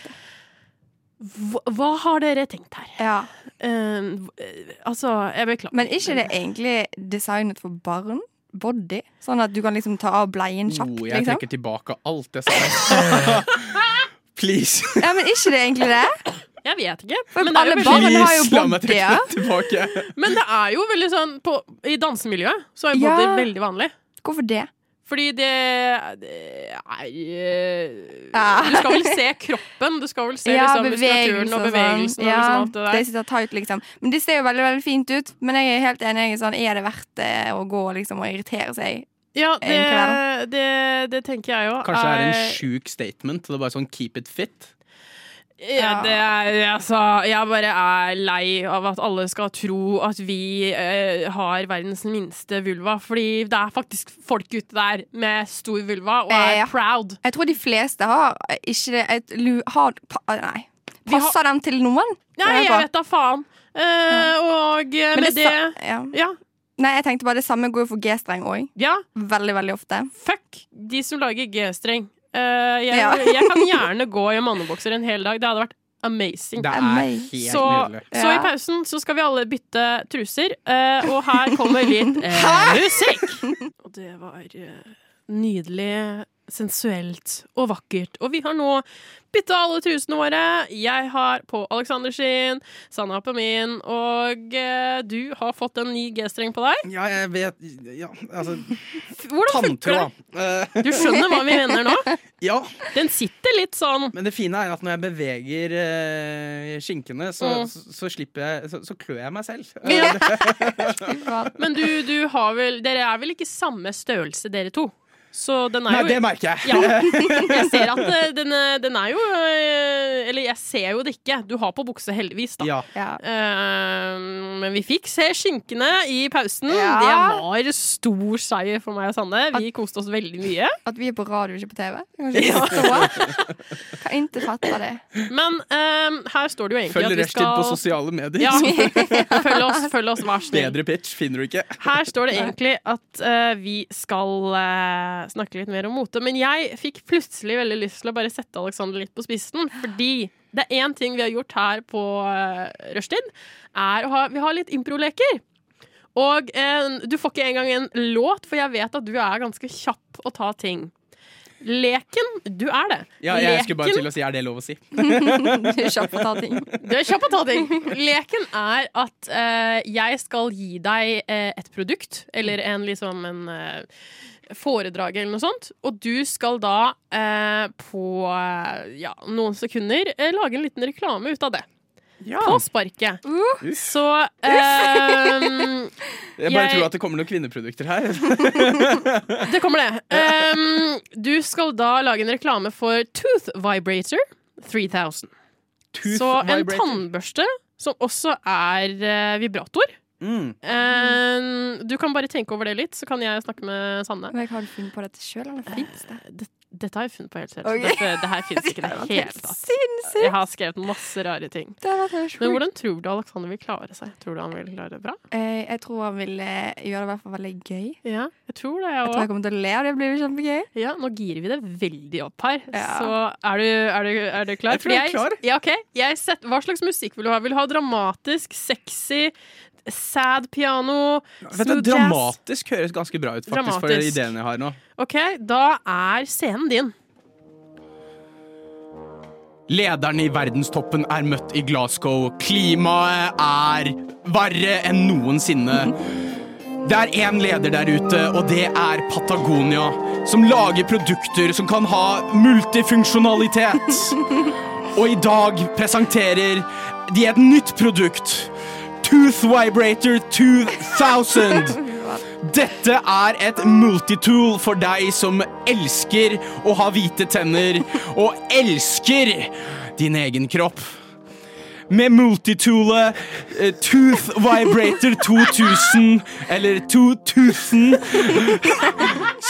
A: hva, hva har dere tenkt her?
B: Ja.
A: Eh, eh, altså, jeg beklager.
B: Men ikke det egentlig designet for barn? Body? Sånn at du kan liksom ta av bleien kjapt?
C: Oh, jeg
B: liksom.
C: trekker tilbake alt jeg sa. Please.
B: Ja, men ikke det egentlig
A: [laughs]
B: det?
A: Jeg vet ikke.
B: For
A: Men det er
B: alle
A: jo
B: barn-
A: veldig
B: Barna har jo
C: Please, la meg trekke [laughs]
B: bodyer.
C: det tilbake.
A: Men det er jo veldig sånn på, I dansemiljøet så er
B: Ja.
A: bodyer veldig vanlig.
B: Hvorfor det?
A: Fordi det, det er eh,
B: Ja.
A: Du skal vel se kroppen, du skal vel se
B: [laughs] Ja,
A: liksom, muskulaturen og bevegelsen.
B: sånn.
A: Og
B: Ja,
A: liksom alt det der.
B: sitter tight, liksom. Men det ser jo veldig, veldig fint ut. Men jeg er helt enig. jeg Er sånn, er det verdt det å gå liksom, og irritere seg?
A: ja,
B: egentlig
A: det, det, det tenker jeg jo.
C: Kanskje det er
A: Eh.
C: en sjuk statement. Det er bare sånn keep it fit.
A: ja, det er, altså, Jeg bare er lei av at alle skal tro at vi eh, har verdens minste vulva. Fordi det er faktisk folk ute der med stor vulva og
B: Eh,
A: er
B: ja.
A: proud.
B: Jeg tror de fleste har ikke det et, lu- har, pa, ah, Nei.
A: Vi har-
B: Passer dem til noen?
A: Nei,
B: Lurer
A: jeg
B: på.
A: vet da faen. Eh, Og eh,
B: Men
A: med
B: det
A: det,
B: sa- ja.
A: Ja.
B: Nei, jeg tenkte bare det samme går jo for G-streng òg.
A: ja.
B: Veldig, veldig ofte.
A: Fuck de som lager G-streng. Eh, [laughs] jeg,
B: Ja.
A: jeg kan gjerne gå i mannebokser en hel dag. Det hadde vært amazing.
C: Det er
B: Amazing.
C: helt
A: så,
C: nydelig.
A: så i
B: Ja.
A: pausen så skal vi alle bytte truser, eh, og her kommer litt [laughs] eh, musikk. Og det var eh, nydelig, sensuelt og vakkert. Og vi har nå bytta alle trusene våre. Jeg har på Alexander sin, Sanna har på min, og eh, du har fått en ny G-streng på deg.
C: Ja, jeg vet Ja, altså
A: F- Hvordan funker det?
C: Tanntråd. Eh,
A: Du skjønner hva vi mener nå?
C: ja,
A: Den sitter litt sånn
C: men det fine er at når jeg beveger eh, skinkene, så,
A: Mm.
C: så, så slipper jeg Så, så klør jeg meg selv.
A: Ja.
B: Fy faen.
A: Men du, du har vel Dere er vel ikke samme størrelse, dere to? Så den er
C: Nei,
A: jo
C: det merker jeg.
A: ja, jeg ser at eh, den, eh, den er jo eh, Eller jeg ser jo det ikke. Du har på bukse, heldigvis, da.
C: Ja.
B: Ja.
A: Eh, men vi fikk se skinkene i pausen.
B: Ja.
A: Det var stor seier for meg og Sanne. Vi koste oss veldig mye.
B: At vi er på radio, ikke på TV. Jeg kan ikke forstå. Kan ikke fatte det.
A: Men eh, her står det jo egentlig
C: Følg
A: at vi
C: rushtid på
A: skal
C: sosiale medier. [laughs]
A: ja, følg oss, følg oss, vær snill.
C: Bedre pitch finner du ikke.
A: Her står det egentlig at eh, vi skal eh, snakke litt mer om mote. Men jeg fikk plutselig veldig lyst til å bare sette Alexander litt på spissen. Fordi det er én ting vi har gjort her på uh, rushtid, er å ha Vi har litt improleker. Og eh, du får ikke engang en låt, for jeg vet at du er ganske kjapp å ta ting. Leken Du er det.
C: Ja, jeg
A: Leken-
C: skulle bare til å si er det lov å si?
B: Du er kjapp på å ta ting.
A: du er kjapp å ta ting. Leken er at eh, jeg skal gi deg eh, et produkt, eller en liksom en eh, foredrag eller noe sånt, og du skal da eh, på eh, ja, noen sekunder eh, lage en liten reklame ut av det.
C: Ah.
A: På sparket.
B: Uh.
A: Så eh, [laughs]
C: Jeg bare
A: Jeg-
C: tror at det kommer noen kvinneprodukter her. [laughs]
A: Det kommer det. Ehm, du skal da lage en reklame for Tooth Vibrator 3000.
C: Tooth
A: så en
C: vibrator.
A: tannbørste som også er eh, vibrator.
C: Mm.
A: Ehm, du kan bare tenke over det litt, så kan jeg snakke med Sanne.
B: Men jeg har funnet på dette sjøl, eller fins det?
A: Det, dette har jeg funnet på helt selv.
B: Ok.
A: Dette, det her finnes ikke i det
B: var
A: hele
B: helt
A: tatt.
B: Sinnssykt!
A: Jeg har skrevet masse rare ting.
B: Det var helt
A: Men
B: sjukt.
A: hvordan tror du Alexander vil klare seg? Tror du han vil klare det bra?
B: Eh, Jeg tror han ville gjøre det i hvert fall veldig gøy.
A: Ja, jeg tror det,
B: Jeg
A: jeg
B: tror jeg
A: òg.
B: kommer til å le, og det blir jo kjempegøy.
A: Ja, nå girer vi det veldig opp her.
B: Ja.
A: Så er du, er, du, er du klar?
C: Jeg tror jeg er
A: Fordi Ja, ok. Jeg sett, hva slags musikk vil du ha? Vil du ha dramatisk, sexy, sad piano?
C: Vet du,
A: Smooth jazz.
C: dramatisk høres ganske bra ut, faktisk, for
A: Dramatisk.
C: ideen jeg har nå.
A: Ok, da er scenen din.
C: Lederne i verdenstoppen er møtt i Glasgow. Klimaet er verre enn noensinne. Det er én leder der ute, og det er Patagonia. Som lager produkter som kan ha multifunksjonalitet. Og i dag presenterer de et nytt produkt. Tooth Vibrator 2000. Dette er et multitool for deg som elsker å ha hvite tenner og elsker din egen kropp. Med multitoolet eh, Tooth Vibrator 2000, eller 2000,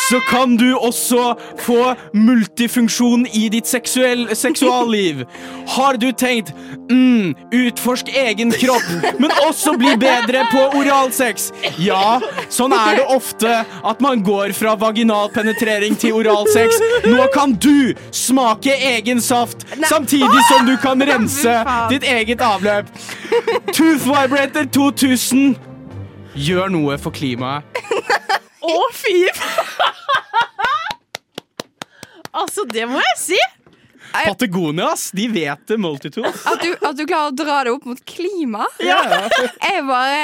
C: så kan du også få multifunksjon i ditt seksuell, seksualliv. Har du tenkt mm, utforsk egen kropp, men også bli bedre på oralsex? Ja, sånn er det ofte at man går fra vaginal penetrering til oralsex. Nå kan du smake egen saft, samtidig som du kan rense ditt eget avløp. Tooth Vibrator 2000. Gjør noe for klimaet.
A: Å, fy faen! altså, det må jeg si! Eh,
C: Patagonia, ass! De vet det,
A: [laughs]
C: multitools.
B: At du, at du klarer å dra det opp mot klima,
C: Ja.
B: er bare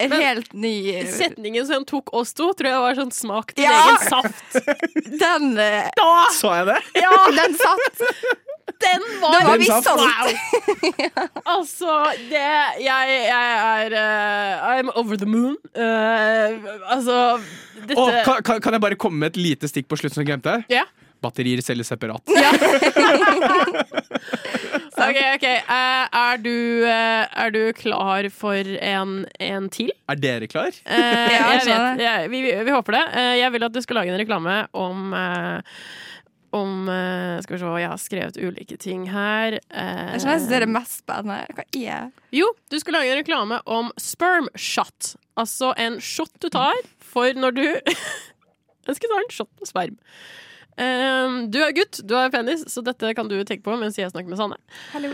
B: en
A: Men-
B: helt ny
A: Setningen som tok oss to, tror jeg var sånn smak til
B: Ja!
A: egen saft.
B: Den, eh,
A: Da!
C: Sa jeg det?
A: Ja,
B: den satt!
A: den var,
B: Da var vi
C: Den satt.
B: solgt!
A: Altså, det Jeg, jeg er eh, I'm over the moon. Eh, altså, dette
C: Å, kan, kan- kan jeg bare komme med et lite stikk på slutten som jeg glemte?
A: Ja.
C: Batterier selges separat.
A: Ok, ok. Eh, er, du, eh, er du klar for en, en [laughs] til?
C: Er dere klar?
A: Eh, jeg
B: jeg skjønner
A: vet, jeg, vi, vi håper det. Eh, jeg vil at du skal lage en reklame om eh, om eh, Skal vi se, jeg har skrevet ulike ting her. Eh,
B: Jeg skjønner jeg synes det er det mest spennende. Hva er
A: jo, du skal lage en reklame om sperm shot. [laughs] Altså en shot du tar for når du Jeg skulle ta en shot med sperm. Ehm, du er gutt, du har penis, så dette kan du tenke på mens jeg snakker med
B: [laughs]
A: Sanne.
B: Hallo.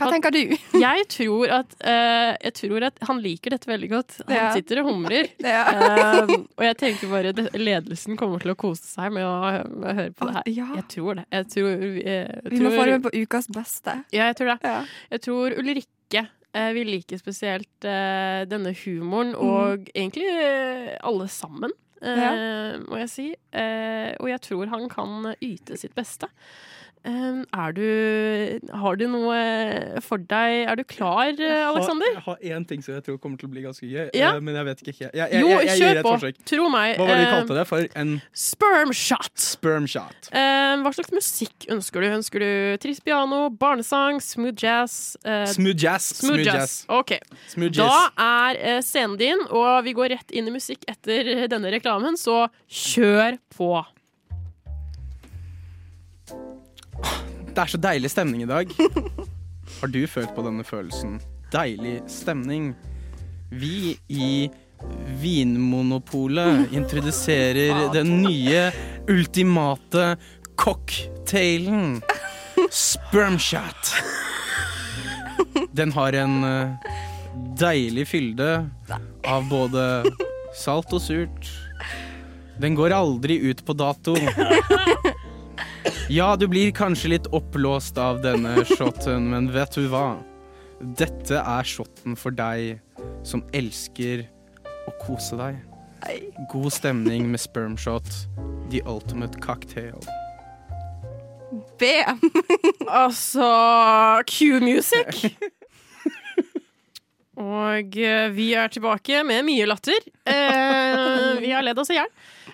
B: Hva tenker du?
A: Jeg tror at, eh, jeg tror at han liker dette veldig godt. Han
B: Ja.
A: sitter og
B: [laughs]
A: humrer.
B: Ja.
A: Ehm, og jeg tenker bare det- ledelsen kommer til å kose seg med å, med å høre på det her.
B: Ja.
A: Jeg tror det. Jeg tror, jeg,
B: Vi må få det
A: tror,
B: med på ukas beste.
A: ja, jeg tror det.
B: Ja.
A: Jeg tror Ulrikke eh, vil like spesielt eh, denne humoren,
C: Mhm.
A: og egentlig eh, alle sammen, eh, må jeg si. Eh, og jeg tror han kan yte sitt beste. Eh, er du Har du noe for deg Er du klar, eh, Aleksander?
C: Jeg har jeg har én ting som jeg tror kommer til å bli ganske gøy,
A: Ja.
C: eh, men jeg vet ikke helt. Jeg, jeg,
A: Jo,
C: jeg, jeg gir
A: kjør
C: et
A: på!
C: forsøk.
A: Tro meg.
C: Hva var det de
A: eh,
C: kalte det? For en
A: Sperm shot!
C: sperm shot.
A: Eh, hva slags musikk ønsker du? Ønsker du trist piano, barnesang, smooth jazz? eh,
C: Smooth jazz.
A: smooth jazz. OK.
C: Smooth
A: Da
C: jazz.
A: er eh, scenen din, og vi går rett inn i musikk etter [laughs] eh, denne reklamen, så kjør på.
C: Det er så deilig stemning i dag. Har du følt på denne følelsen? Deilig stemning. Vi i Vinmonopolet introduserer den nye ultimate cocktailen spermshot. Den har en eh, deilig fylde av både salt og surt. Den går aldri ut på dato. Ja, du blir kanskje litt oppblåst av
A: [laughs]
C: denne shotten, men vet du hva? Dette er shotten for deg som elsker å kose deg. God stemning med spermshot, the ultimate cocktail.
B: B.
A: Altså [laughs] Q-music! Og eh, vi er tilbake med mye latter. Eh, vi har ledd oss i hjel.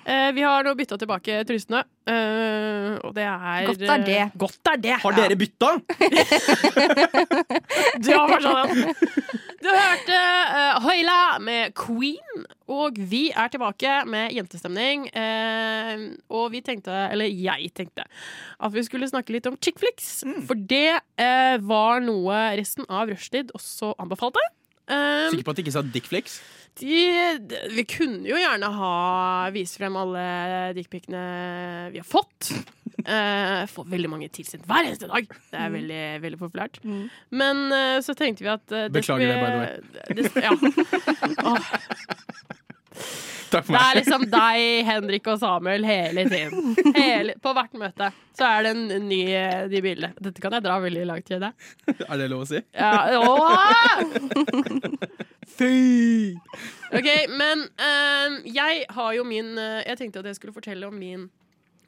A: Eh, vi har nå bytta tilbake turistene, eh, og det er
B: Godt er det.
A: eh, Godt er det.
C: Har dere bytta?
A: [laughs] Du har bare sånn Du hørte eh, Høyla med Queen, og vi er tilbake med jentestemning. Eh, og vi tenkte, eller jeg tenkte, at vi skulle snakke litt om chick flicks. For det eh, var noe resten av rushtid også anbefalte. Eh,
C: Sikker på at de ikke sa dickflix?
A: de, de- vi kunne jo gjerne ha vise frem alle dickpicene vi har fått. Eh, får veldig mange tilsendt hver eneste dag. Det er veldig, veldig populært.
B: Mm.
A: Men eh, så tenkte vi at eh,
E: Beklager det,
A: by the way. ja. [laughs] Åh,
E: Takk for
A: det
E: meg.
A: er liksom deg, Henrik og Samuel hele tiden. Hele, på hvert møte så er det en ny eh, de bildene. Dette kan jeg dra veldig langt, kjenner jeg.
C: [laughs] Er det lov å si?
A: Ja, åh!
C: Mm.
A: Ok, men ehm, jeg har jo min eh, Jeg tenkte at jeg skulle fortelle om min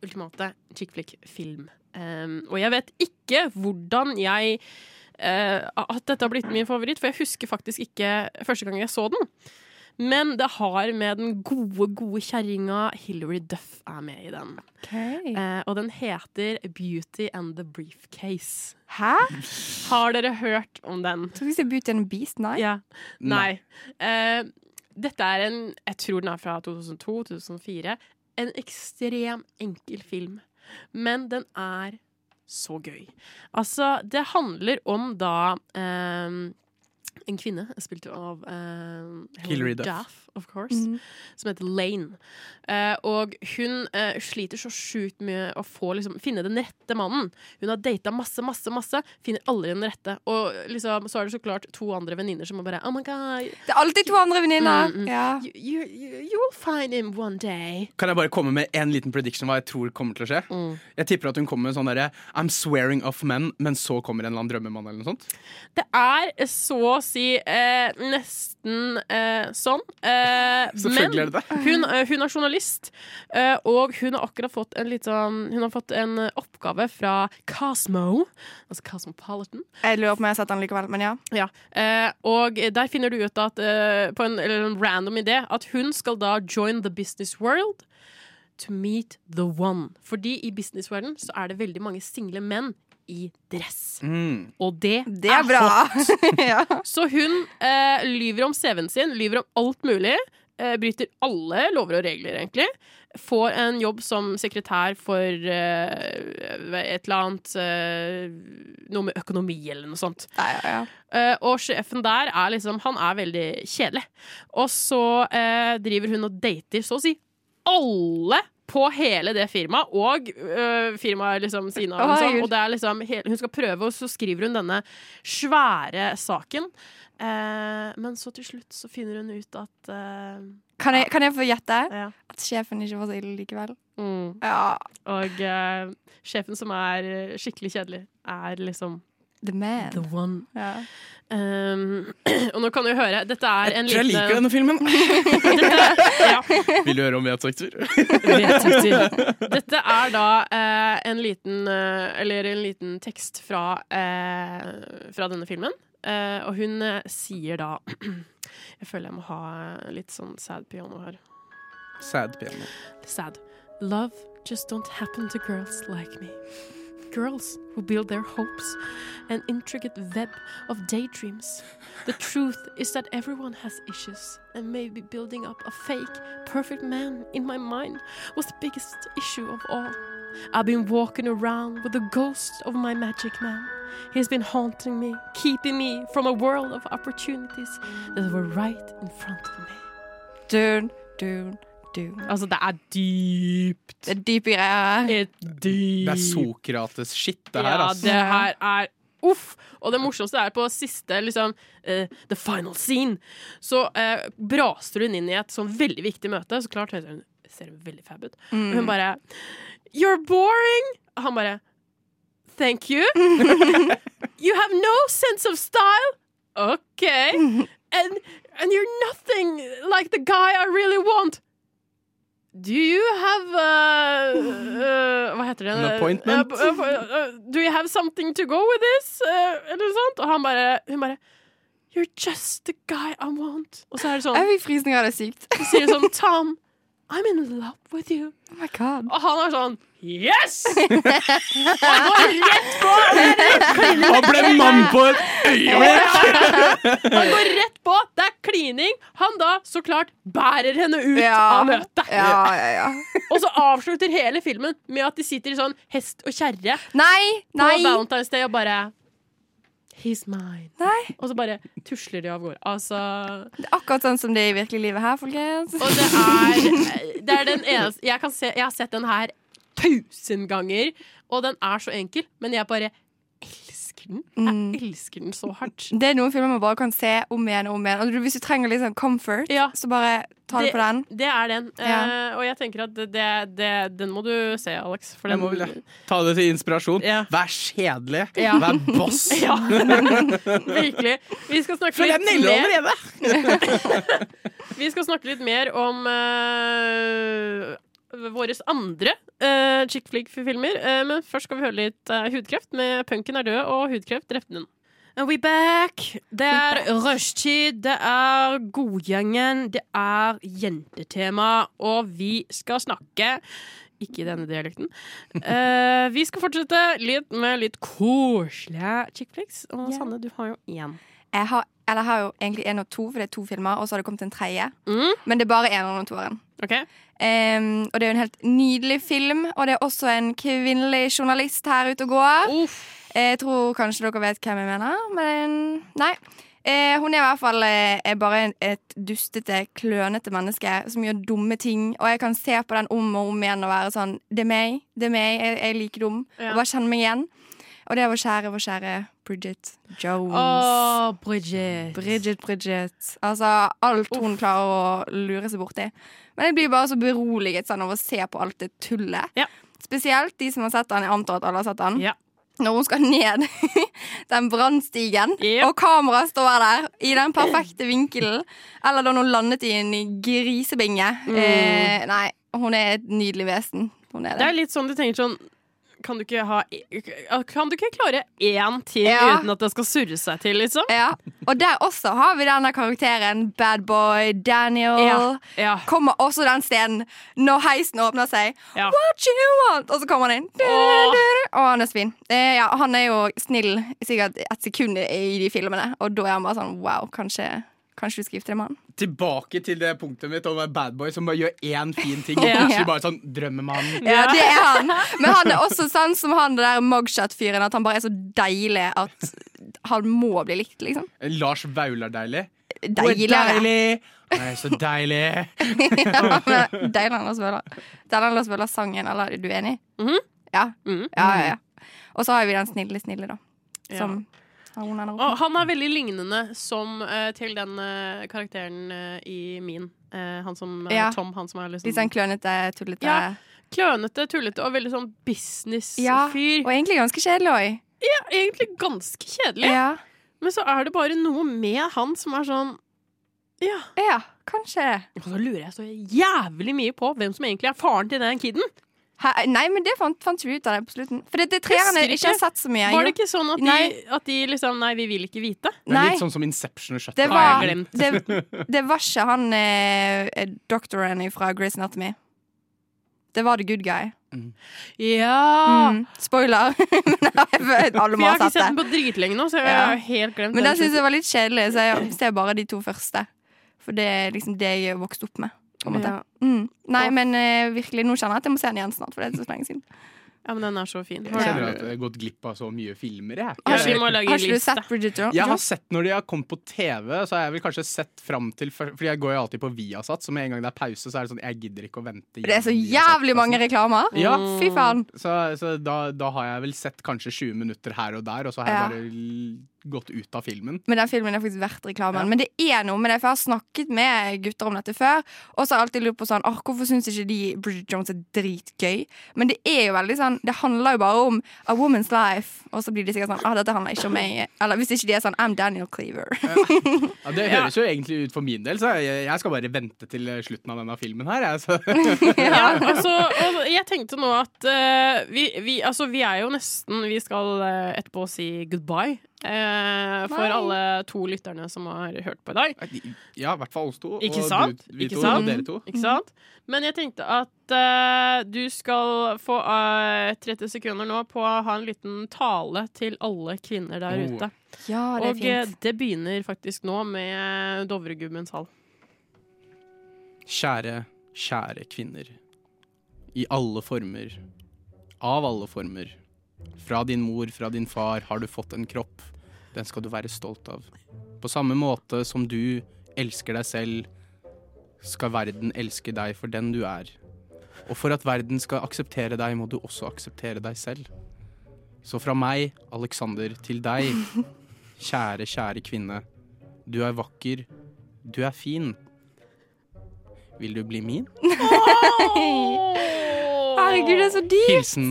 A: ultimate chick flick-film. Ehm, og jeg vet ikke hvordan jeg eh, At dette har blitt min favoritt, for jeg husker faktisk ikke første gang jeg så den. Men det har med den gode, gode kjerringa Hilary Duff er med i den. Eh, og den heter Beauty and the Briefcase.
B: Hæ?
A: Har dere hørt om den?
B: Tror vi skal Beauty and the Beast, nei?
A: Ja. Nei. Eh, dette er en Jeg tror den er fra 2002-2004. En ekstrem enkel film. Men den er så gøy. Altså, det handler om da eh, en kvinne, spilt av eh,
C: Hilary Duff.
A: of course,
B: Mm.
A: som heter Lane. Eh, og hun eh, sliter så sjukt med å få, liksom, finne den rette mannen. Hun har data masse, masse, masse, finner aldri den rette. Og liksom, så er det så klart to andre venninner som bare Oh my god,
B: Det er alltid to andre venninner.
A: Mm, mm.
B: Ja.
A: you, you, you, you will find him one day.
C: Kan jeg bare komme med en liten prediction hva jeg tror kommer til å skje?
A: Mm.
C: Jeg tipper at hun kommer med sånn derre I'm swearing off men, men så kommer en eller annen drømmemann eller noe sånt.
A: Det er så å si eh, nesten eh, sånn. Eh, men
C: [laughs] Selvfølgelig er det det.
A: hun, eh, hun er journalist, eh, og hun har akkurat fått en, litt sånn, hun har fått en eh, oppgave fra Cosmo, altså Cosmopolitan,
B: Jeg lurer på om jeg har sett den likevel, men ja.
A: Ja, eh, og der finner du ut at eh, på en, eller en random idé at hun skal da join the business world to meet the one. Fordi i businessverdenen så er det veldig mange single menn i dress.
C: Mm.
A: Og det,
B: Det er bra. [laughs]
A: hot.
B: Ah, ja.
A: Så hun eh, lyver om CV-en sin, lyver om alt mulig. Eh, bryter alle lover og regler, egentlig. Får en jobb som sekretær for eh, et eller annet eh, Noe med økonomi eller noe sånt.
B: Ja, ja, ja.
A: Eh, og sjefen der er liksom Han er veldig kjedelig. Og så eh, driver hun og dater så å si alle på hele det firmaet, og øh, firmaet liksom siden av.
B: Å,
A: og sånn,
B: herregud.
A: og det er liksom hele, hun skal prøve, og så skriver hun denne svære saken. Eh, men så til slutt så finner hun ut at eh,
B: Kan jeg, kan jeg få gjette
A: ja.
B: at sjefen ikke var så ille likevel?
A: mm.
B: Ja,
A: Og eh, sjefen som er eh, skikkelig kjedelig, er liksom
B: the man.
A: the one.
B: Ja.
A: Um, [clears throat] og nå kan du høre, dette er en
F: tror jeg liker
A: liten
F: denne filmen.
A: [laughs] ja,
F: Vil du høre om vedtekter?
A: vedtekter. [laughs] Dette er da eh, en liten eh, Eller en liten tekst fra, eh, fra denne filmen. Eh, og hun eh, sier da [clears throat] Jeg føler jeg må ha eh, litt sånn sad piano her.
F: Sad piano.
A: sad. Love just don't happen to girls like me. Girls who build their hopes an intricate web of daydreams. The truth is that everyone has issues, and maybe building up a fake, perfect man in my mind was the biggest issue of all. I've been walking around with the ghost of my magic man. He's been haunting me, keeping me from a world of opportunities that were right in front of me.
B: Dun, dun, dun.
A: Altså, det er dypt.
B: Det er dype greier her.
A: Et dyp.
F: Det er Sokrates-shit, det her,
A: Ja,
F: ass.
A: det her er Uff! Og det morsomste er på siste, liksom, eh, the final scene, så eh, braster hun inn i et sånn veldig viktig møte. Så klart ser hun, ser hun veldig fab ut.
B: Mm.
F: Mm.
A: Og hun bare You're boring! Og han bare
F: [laughs]
A: Thank you. you have no sense of style. OK.
F: [laughs]
A: And, and you're nothing like the guy I really want. Do you have uh, uh, Hva heter det?
F: An appointment?
A: Uh, uh, uh, do you have something to go with this? Uh, eller noe sånt. Og han bare, hun bare You're just the guy I want. Og så er det sånn,
B: Jeg fikk frysninger av det er sykt. [laughs]
A: så sier hun sånn Tom, I'm in love with you.
B: Oh my god.
A: Og han er sånn Yes!
B: [laughs]
A: Han går rett på!
F: Han ble mann på et øyeblikk!
A: Han går rett på! Det er klining. Han da så klart bærer henne ut av møtet.
B: Ja, ja, ja.
A: Og så avslutter hele filmen med at de sitter i sånn hest og kjerre
B: Nei,
A: på
B: nei,
A: Valentine's Day og bare He's mine.
B: nei.
A: Og så bare tusler de av gårde. Altså
B: Det er akkurat sånn som det er i virkelig livet her, folkens.
A: Og det er, det er den eneste jeg, kan se, jeg har sett den her tusen ganger, og den er så enkel, men jeg bare elsker den.
B: Mm.
A: Jeg elsker den så hardt.
B: Det er noen filmer man bare kan se om igjen og om igjen. Og du- hvis du trenger litt sånn comfort,
A: Ja.
B: så bare ta det,
A: Det-
B: på den.
A: Det er den.
B: Ja.
A: Eh, og jeg tenker at det, det, det, den må du se, Alex. For
F: Jeg
A: den
F: må vel det. Ta det til inspirasjon.
A: Ja.
F: Vær kjedelig.
A: Ja.
F: Vær
A: [laughs]
F: boss.
A: [laughs] Ja, virkelig. Vi skal snakke
F: Føler jeg
A: litt
F: melder
A: mer,
F: allerede.
A: vi skal snakke litt mer om eh, våres andre uh, chick flick-filmer. Eh, men først skal vi høre litt eh, Hudkreft med 'Punken er død' og 'Hudkreft drepte den'. And we back! Det er rushtid, det er godgjengen, det er jentetema, og vi skal snakke Ikke i denne dialekten. [laughs] Eh, vi skal fortsette litt med litt koselige chickflicks. Og
B: Ja.
A: Sanne, du har jo én.
B: Jeg har, eller jeg har jo egentlig én og to, for det er to filmer, og så har det kommet en tredje.
A: Mm.
B: Men det er bare én og toeren.
A: OK?
B: Em, og det er jo en helt nydelig film, og det er også en kvinnelig journalist her ute og går.
A: Uff.
B: Jeg tror kanskje dere vet hvem jeg mener, men nei. Eh, hun er i hvert fall eh, er bare en- et dustete, klønete menneske som gjør dumme ting. Og jeg kan se på den om og om igjen og være sånn Det er meg. Det er meg. Jeg, jeg er like dum.
A: Ja.
B: Og bare kjenne meg igjen. Og det er vår kjære, vår kjære Bridget Jones.
A: Å, Bridget.
B: Bridget, Bridget. Altså alt hun klarer å lure seg borti. Men jeg blir bare så beroliget sånn, av å se på alt det tullet.
A: Ja.
B: Spesielt de som har sett den. Jeg antar at alle har sett den
A: Ja.
B: når hun skal ned [laughs] den brannstigen,
A: Yep.
B: og kameraet står der i den perfekte vinkelen, eller da hun landet i en grisebinge.
A: Mm.
B: Eh, nei, hun er et nydelig vesen. Hun er
A: Det
B: det.
A: er litt sånn du tenker sånn Kan du ikke, ha, e, kan du ikke klare én ting
B: Ja.
A: uten at det skal surre seg til, liksom?
B: Ja. Og der også har vi denne karakteren, bad boy Daniel.
A: Ja.
B: Kommer også den scenen når heisen åpner seg.
A: Ja.
B: What you want? Og så kommer han inn.
A: Åh.
B: Og han er så fin. Eh, ja, han er jo snill i sikkert et sekund i de filmene, og da er han bare sånn wow, kanskje, kanskje du skal gifte deg med han.
F: Tilbake til det punktet mitt om en bad boy som bare gjør én fin ting. Og
A: [laughs] Ja.
F: plutselig bare sånn Drømmemannen.
B: Ja, det er han. Men han er også sånn som han der mugshot-fyren, at han bare er så deilig at han må bli likt, liksom.
F: Lars Vaular-deilig.
B: Deiligere.
C: Nei, så deilig!
B: [laughs] ja, men deiligere enn Lars Vøhler. Deiligere enn Lars Vøhler-sangen, eller er du enig?
A: Mhm.
B: Ja.
A: Mhm.
B: Ja, ja, ja. Og så har vi den snille, snille, da.
A: Mm. Ja.
B: Som har hun eller
A: Og han er veldig lignende som eh, til den eh, karakteren eh, i min. Eh, han som eh,
B: Ja.
A: Tom, han som er liksom
B: Litt sånn klønete, tullete.
A: Ja. klønete, tullete og veldig sånn businessfyr.
B: Ja, Og egentlig ganske kjedelig òg.
A: Ja, egentlig ganske kjedelig.
B: Ja.
A: Men så er det bare noe med han som er sånn Ja.
B: ja, kanskje det.
A: Og så lurer jeg så jævlig mye på hvem som egentlig er faren til den kiden.
B: Hæ? Nei, men det fant, fant ikke vi ut av det på slutten. For det, det treeren
A: Husker
B: jeg ikke har
A: ikke.
B: sett så mye.
A: Var det
B: Jo.
A: ikke sånn at de,
B: Nei.
A: at de liksom Nei, vi vil ikke vite.
C: Det er
B: Nei,
C: litt sånn som Inception og
B: det
A: har
C: Shutter
B: var,
A: jeg
C: Island.
A: glemt.
B: det, det var ikke han eh, doktoren fra Grey's Anatomy. Det var The Good Guy.
A: Ja!
B: Mm. Spoiler. [laughs]
A: Ah.
B: Men alle
A: For jeg
B: må ha
A: har ikke sett
B: sett
A: den
B: det.
A: på dritlenge nå, så jeg
B: Ja.
A: har helt glemt
B: Men den syns
A: slutten.
B: jeg var litt kjedelig, så jeg ser bare de to første. For det er liksom det jeg er vokst opp med. På en måte.
A: Ja.
B: Mm. Nei, men eh, virkelig, nå kjenner jeg at jeg må se den igjen snart, for det er så lenge siden.
A: ja, men den er så fin.
C: Jeg kjenner
B: Ja.
C: at jeg har gått glipp av så mye filmer, jeg.
A: Ja, vi
C: jeg.
A: må lage
B: Har
A: en
B: ikke du
A: liste.
B: [laughs] sett Bridget Jones?
C: Jeg har sett når de har kommet på TV, så har jeg vel kanskje sett fram til før- Fordi jeg går jo alltid på Viasat, så med en gang det er pause, så er det sånn Jeg gidder ikke å vente.
B: Det er så
C: gjennom
B: jævlig mange
C: Viasat-plassen.
B: reklamer.
C: Ja.
A: Mm.
B: Fy faen.
C: Så, så da, da har jeg vel sett kanskje 20 minutter her og der, og så har jeg
B: Ja.
C: bare l- gått ut av filmen.
B: Men den filmen er faktisk verdt reklamen. Men det er noe med det, for jeg har snakket med gutter om dette før. Og så har jeg alltid lurt på sånn Åh, Hvorfor syns ikke de Bridget Jones er dritgøy? Men det er jo veldig sånn Det handler jo bare om a woman's life. Og så blir de sikkert sånn ah, dette handler ikke om meg. Eller hvis ikke de er sånn I'm Daniel Cleaver.
C: Ja, det
A: Ja.
C: høres jo egentlig ut for min del, så jeg, jeg skal bare vente til eh, slutten av denne filmen her. Jeg, så.
A: Ja, altså, og jeg tenkte nå at eh, vi, vi, altså, vi er jo nesten Vi skal eh, etterpå si goodbye eh, for
B: Nei.
A: alle to lytterne som har hørt på i dag.
C: Ja, i hvert fall oss to.
A: Ikke
C: og
A: sant?
C: Du, vi
A: Ikke
C: to
A: sant?
C: og dere to.
B: Mm.
A: Ikke sant? Men jeg tenkte at eh, du skal få eh, 30 sekunder nå på å ha en liten tale til alle kvinner der
C: Oh.
A: ute.
B: Ja, det er
A: Og eh,
B: fint.
A: det begynner faktisk nå med eh, Dovregubbens [laughs] hall.
C: Kjære, kjære kvinner. I alle former. Av alle former. Fra din mor, fra din far har du fått en kropp. Den skal du være stolt av. På samme måte som du elsker deg selv, skal verden elske deg for den du er. Og for at verden skal akseptere deg, må du også akseptere deg selv. Så fra meg, Alexander, til deg, kjære, kjære kvinne. Du er vakker. Du er fin. Vil du bli min?
B: Herregud,
A: [laughs]
B: det er så dyrt!
C: Hilsen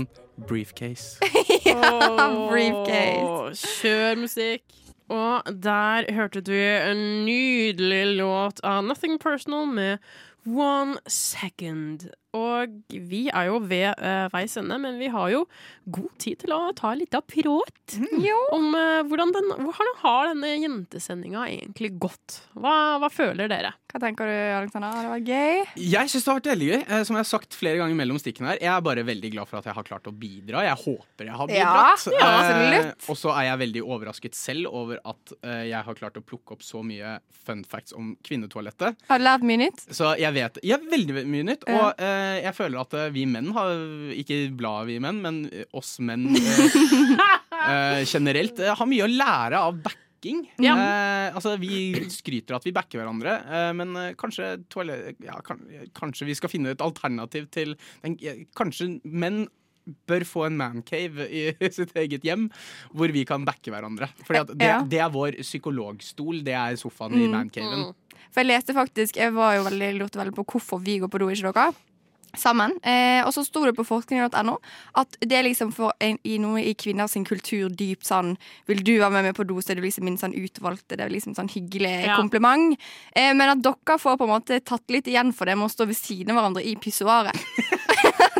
C: briefcase.
A: Åh,
B: briefcase.
A: Kjør musikk. Og der hørte du en nydelig låt av Nothing Personal med One Second. Og vi er jo ved eh, veis ende, men vi har jo god tid til å ta litt av pråt
B: Jo.
A: om eh, hvordan, den, hvordan har denne jentesendinga egentlig gått. Hva, hva føler dere?
B: Hva tenker du, Alexander? Det var gøy.
C: [laughs] Jeg syns det har vært veldig gøy. Eh, Som jeg har sagt flere ganger mellom stikkene her, jeg er bare veldig glad for at jeg har klart å bidra. Jeg håper jeg har
B: Ja,
C: bidratt.
B: ja,
C: Eh,
B: absolutt.
C: og så er jeg veldig overrasket selv over at eh, jeg har klart å plukke opp så mye fun facts om kvinnetoalettet.
B: Har du lært mye nytt?
C: Så jeg vet jeg er veldig mye nytt. Og
B: Ja.
C: eh, jeg føler at eh, vi menn har Ikke bladet vi menn, men eh, oss menn
B: [laughs]
C: eh, eh, generelt eh, har mye å lære av backing.
A: Ja.
C: Eh, altså, vi skryter av at vi backer hverandre, eh, men eh, kanskje, toalet, ja, kan, kanskje vi skal finne et alternativ til den, Kanskje menn bør få en mancave i [laughs] sitt eget hjem, hvor vi kan backe hverandre. Fordi at det,
B: Ja. Mm.
C: det er vår psykologstol, det er sofaen i mancaven.
A: Mm.
B: For jeg leste faktisk Jeg var jo veldig, lurte veldig på hvorfor vi går på do, ikke dere? Sammen. Eh, og så sto det på forskning.no at det er liksom for en, i noe i kvinners kultur dypt sånn Vil du være med meg på do, så er du liksom min sånn utvalgte. Det er liksom sånn hyggelig
A: Ja.
B: kompliment. Eh, men at dere får på en måte tatt litt igjen for det med å stå ved siden av hverandre i pissoaret. [laughs]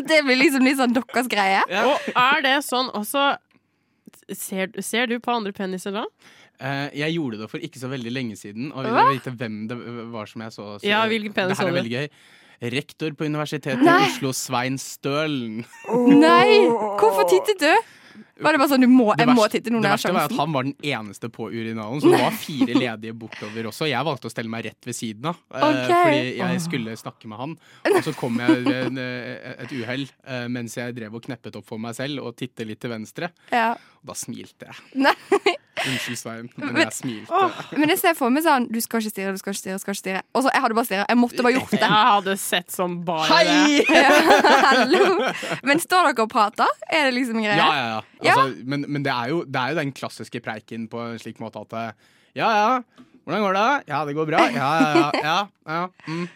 B: det blir liksom litt sånn deres greie.
A: Og er det sånn også Ser, ser du på andre peniser da?
C: Eh, jeg gjorde det for ikke så veldig lenge siden, og vil dere vite hvem det var som jeg så? så
A: Ja, hvilken penis
C: det her
A: så
C: er
A: du?
C: veldig gøy. Rektor på Universitetet
B: Nei.
C: i Oslo, Svein Stølen.
B: Nei! Hvorfor tittet du? Var det bare sånn du må,
C: Det
B: Jeg må
C: verste-
B: titte nå
C: det
B: når jeg
C: verste
B: har
C: var at
B: sjansen?
C: han var den eneste på urinalen, så det var fire ledige bortover også. Jeg valgte å stelle meg rett ved siden av, eh,
B: Ok.
C: fordi jeg skulle snakke med han. Og så kom jeg ved en, eh, et uhell eh, mens jeg drev og kneppet opp for meg selv og tittet litt til venstre.
B: Ja.
C: Og da smilte jeg.
B: Nei.
C: Unnskyld, Svein, men jeg smilte.
B: Men jeg ser for meg sånn Du skal ikke stirre, du skal ikke stirre, du skal ikke stirre. Og så jeg hadde bare stirra. Jeg måtte bare gjort det.
A: Jeg hadde sett som bare det.
C: Hei!
B: [laughs] Hallo. Men står dere og prater? Er det liksom en greie?
C: Ja, ja, ja. Altså, men men det, er jo, det er jo den klassiske preiken på en slik måte at eh, Ja, ja, hvordan går det? Ja, det går bra. Ja, ja, ja. ja, ja mm.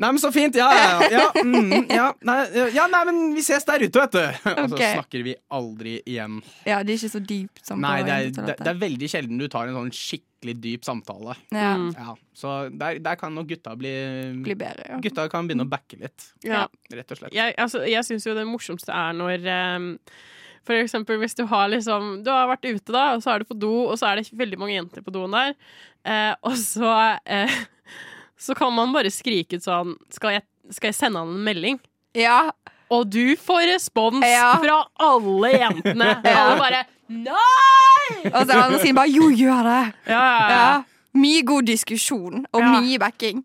C: Nei, men så fint! Ja, ja, ja. ja, mm, ja, nei, ja nei, men vi ses der ute, vet du! [laughs] Og så
B: Ok.
C: snakker vi aldri igjen.
B: Ja, det er ikke så dypt som
C: Nei,
B: på
C: det er, det,
B: internettet.
C: det er veldig sjelden du tar en sånn skikkelig dyp samtale.
B: ja.
A: Mm.
C: Ja, så der, der kan nok gutta bli,
B: Blir bedre, ja.
C: Gutta kan begynne å backe litt,
A: Ja.
C: rett og slett.
A: Jeg, altså, jeg syns jo det morsomste er når eh, For eksempel hvis du har liksom Du har vært ute, da, og så er du på do, og så er det veldig mange jenter på doen der, eh, og så eh, Så kan man bare skrike ut sånn Skal jeg, skal jeg sende han en melding?
B: ja.
A: Og du får respons
B: Ja.
A: fra alle jentene.
B: Ja.
A: Alle bare Nei!
B: Og så er andre siden bare Jo, gjør det!
A: Ja, ja, ja.
B: Ja. Mye god diskusjon og
A: Ja.
B: mye backing.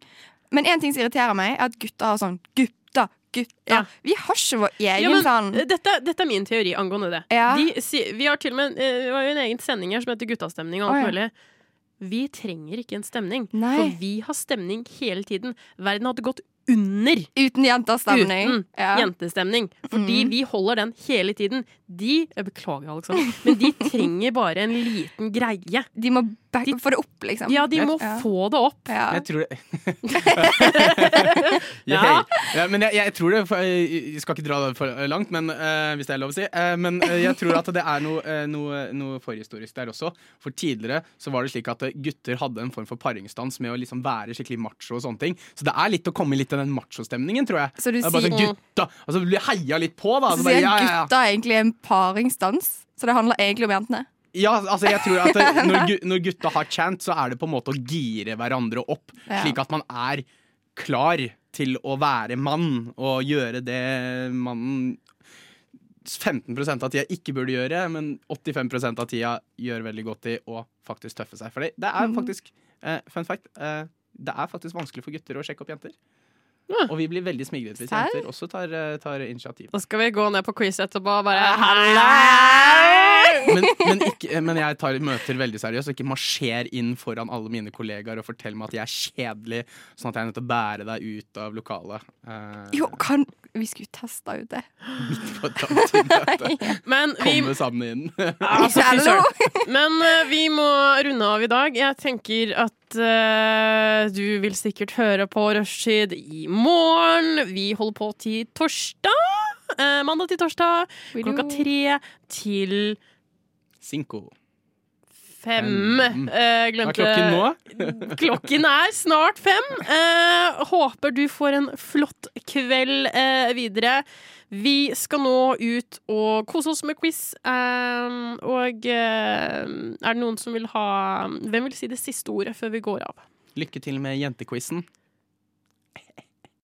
B: Men én ting som irriterer meg, er at gutter har sånn Gutta, gutta.
A: Ja.
B: Vi har ikke vår
A: Ja,
B: egen
A: men, eh,
B: sånn
A: dette, dette er min teori angående det.
B: Ja.
A: De, si- vi har til og med eh, det var jo en egen sending her som heter Guttastemning og
B: Å,
A: alt
B: ja.
A: mulig. Vi trenger ikke en stemning,
B: Nei.
A: for vi har stemning hele tiden. Verden hadde gått under
B: Uten
A: uten
B: jentastemning.
A: jentestemning, fordi
B: Mm.
A: vi holder den hele tiden. De jeg Beklager, Alexander, men de trenger bare en liten greie.
B: De må back,
A: De-
B: få det opp, liksom.
A: Ja, de må
B: Ja.
A: få det opp.
B: Ja.
C: Jeg tror
B: [laughs]
C: det
A: Ja.
C: ja, Men jeg, jeg tror det for- Jeg skal ikke dra det for langt, men, eh, hvis det er lov å si. eh, men eh, jeg tror at det er noe, eh, noe, noe forhistorisk der også. For tidligere så var det slik at eh, gutter hadde en form for paringsstans med å liksom være skikkelig macho og sånne ting. Så det er litt å komme litt i den machostemningen, tror jeg.
B: Så du
C: det er bare sånn
B: sier-
C: gutta Og så blir heia litt på, da.
B: Så sier
C: Så Altså, bare, ja, ja, ja.
B: gutta er egentlig en paringsdans, så det handler egentlig om jentene.
C: Ja, altså jeg tror at eh, når, gu- når gutta har chant, så er det på en måte å gire hverandre opp.
B: Ja.
C: Slik at man er klar til å være mann og gjøre det mannen 15 av tida ikke burde gjøre, men 85 av tida gjør veldig godt i å faktisk tøffe seg. For det, det
B: Mhm.
C: er faktisk eh, Fun fact. Eh, det er faktisk vanskelig for gutter å sjekke opp jenter.
A: Ja.
C: Og vi blir veldig smigret hvis
B: Serr?
C: jenter også tar, eh, tar initiativ.
A: Da skal vi gå ned på quiz etterpå og
B: Ah.
A: bare Halla!
C: Men, men, ikke, eh, men jeg tar møter veldig seriøst, og ikke marsjer inn foran alle mine kollegaer og fortell meg at jeg er kjedelig, sånn at jeg er nødt til å bære deg ut av lokalet. Eh,
B: Jo, kan Vi skulle teste ut det.
C: på et dagsmøte.
A: Men vi
C: Komme sammen inn. [laughs]
A: Altså, fy
B: Hallo!
A: søren. Men eh, vi må runde av i dag. Jeg tenker at eh, du vil sikkert høre på Rushtid i morgen. Vi holder på til torsdag. Eh, mandag til torsdag klokka tre til
C: Cinco.
A: fem.
C: Fem.
A: Eh,
C: Hva
A: glemte
C: er klokken nå?
A: Klokken er snart fem. Eh, håper du får en flott kveld eh, videre. Vi skal nå ut og kose oss med quiz. Eh, og eh, er det noen som vil ha Hvem vil si det siste ordet før vi går av?
C: Lykke til med jentequizen.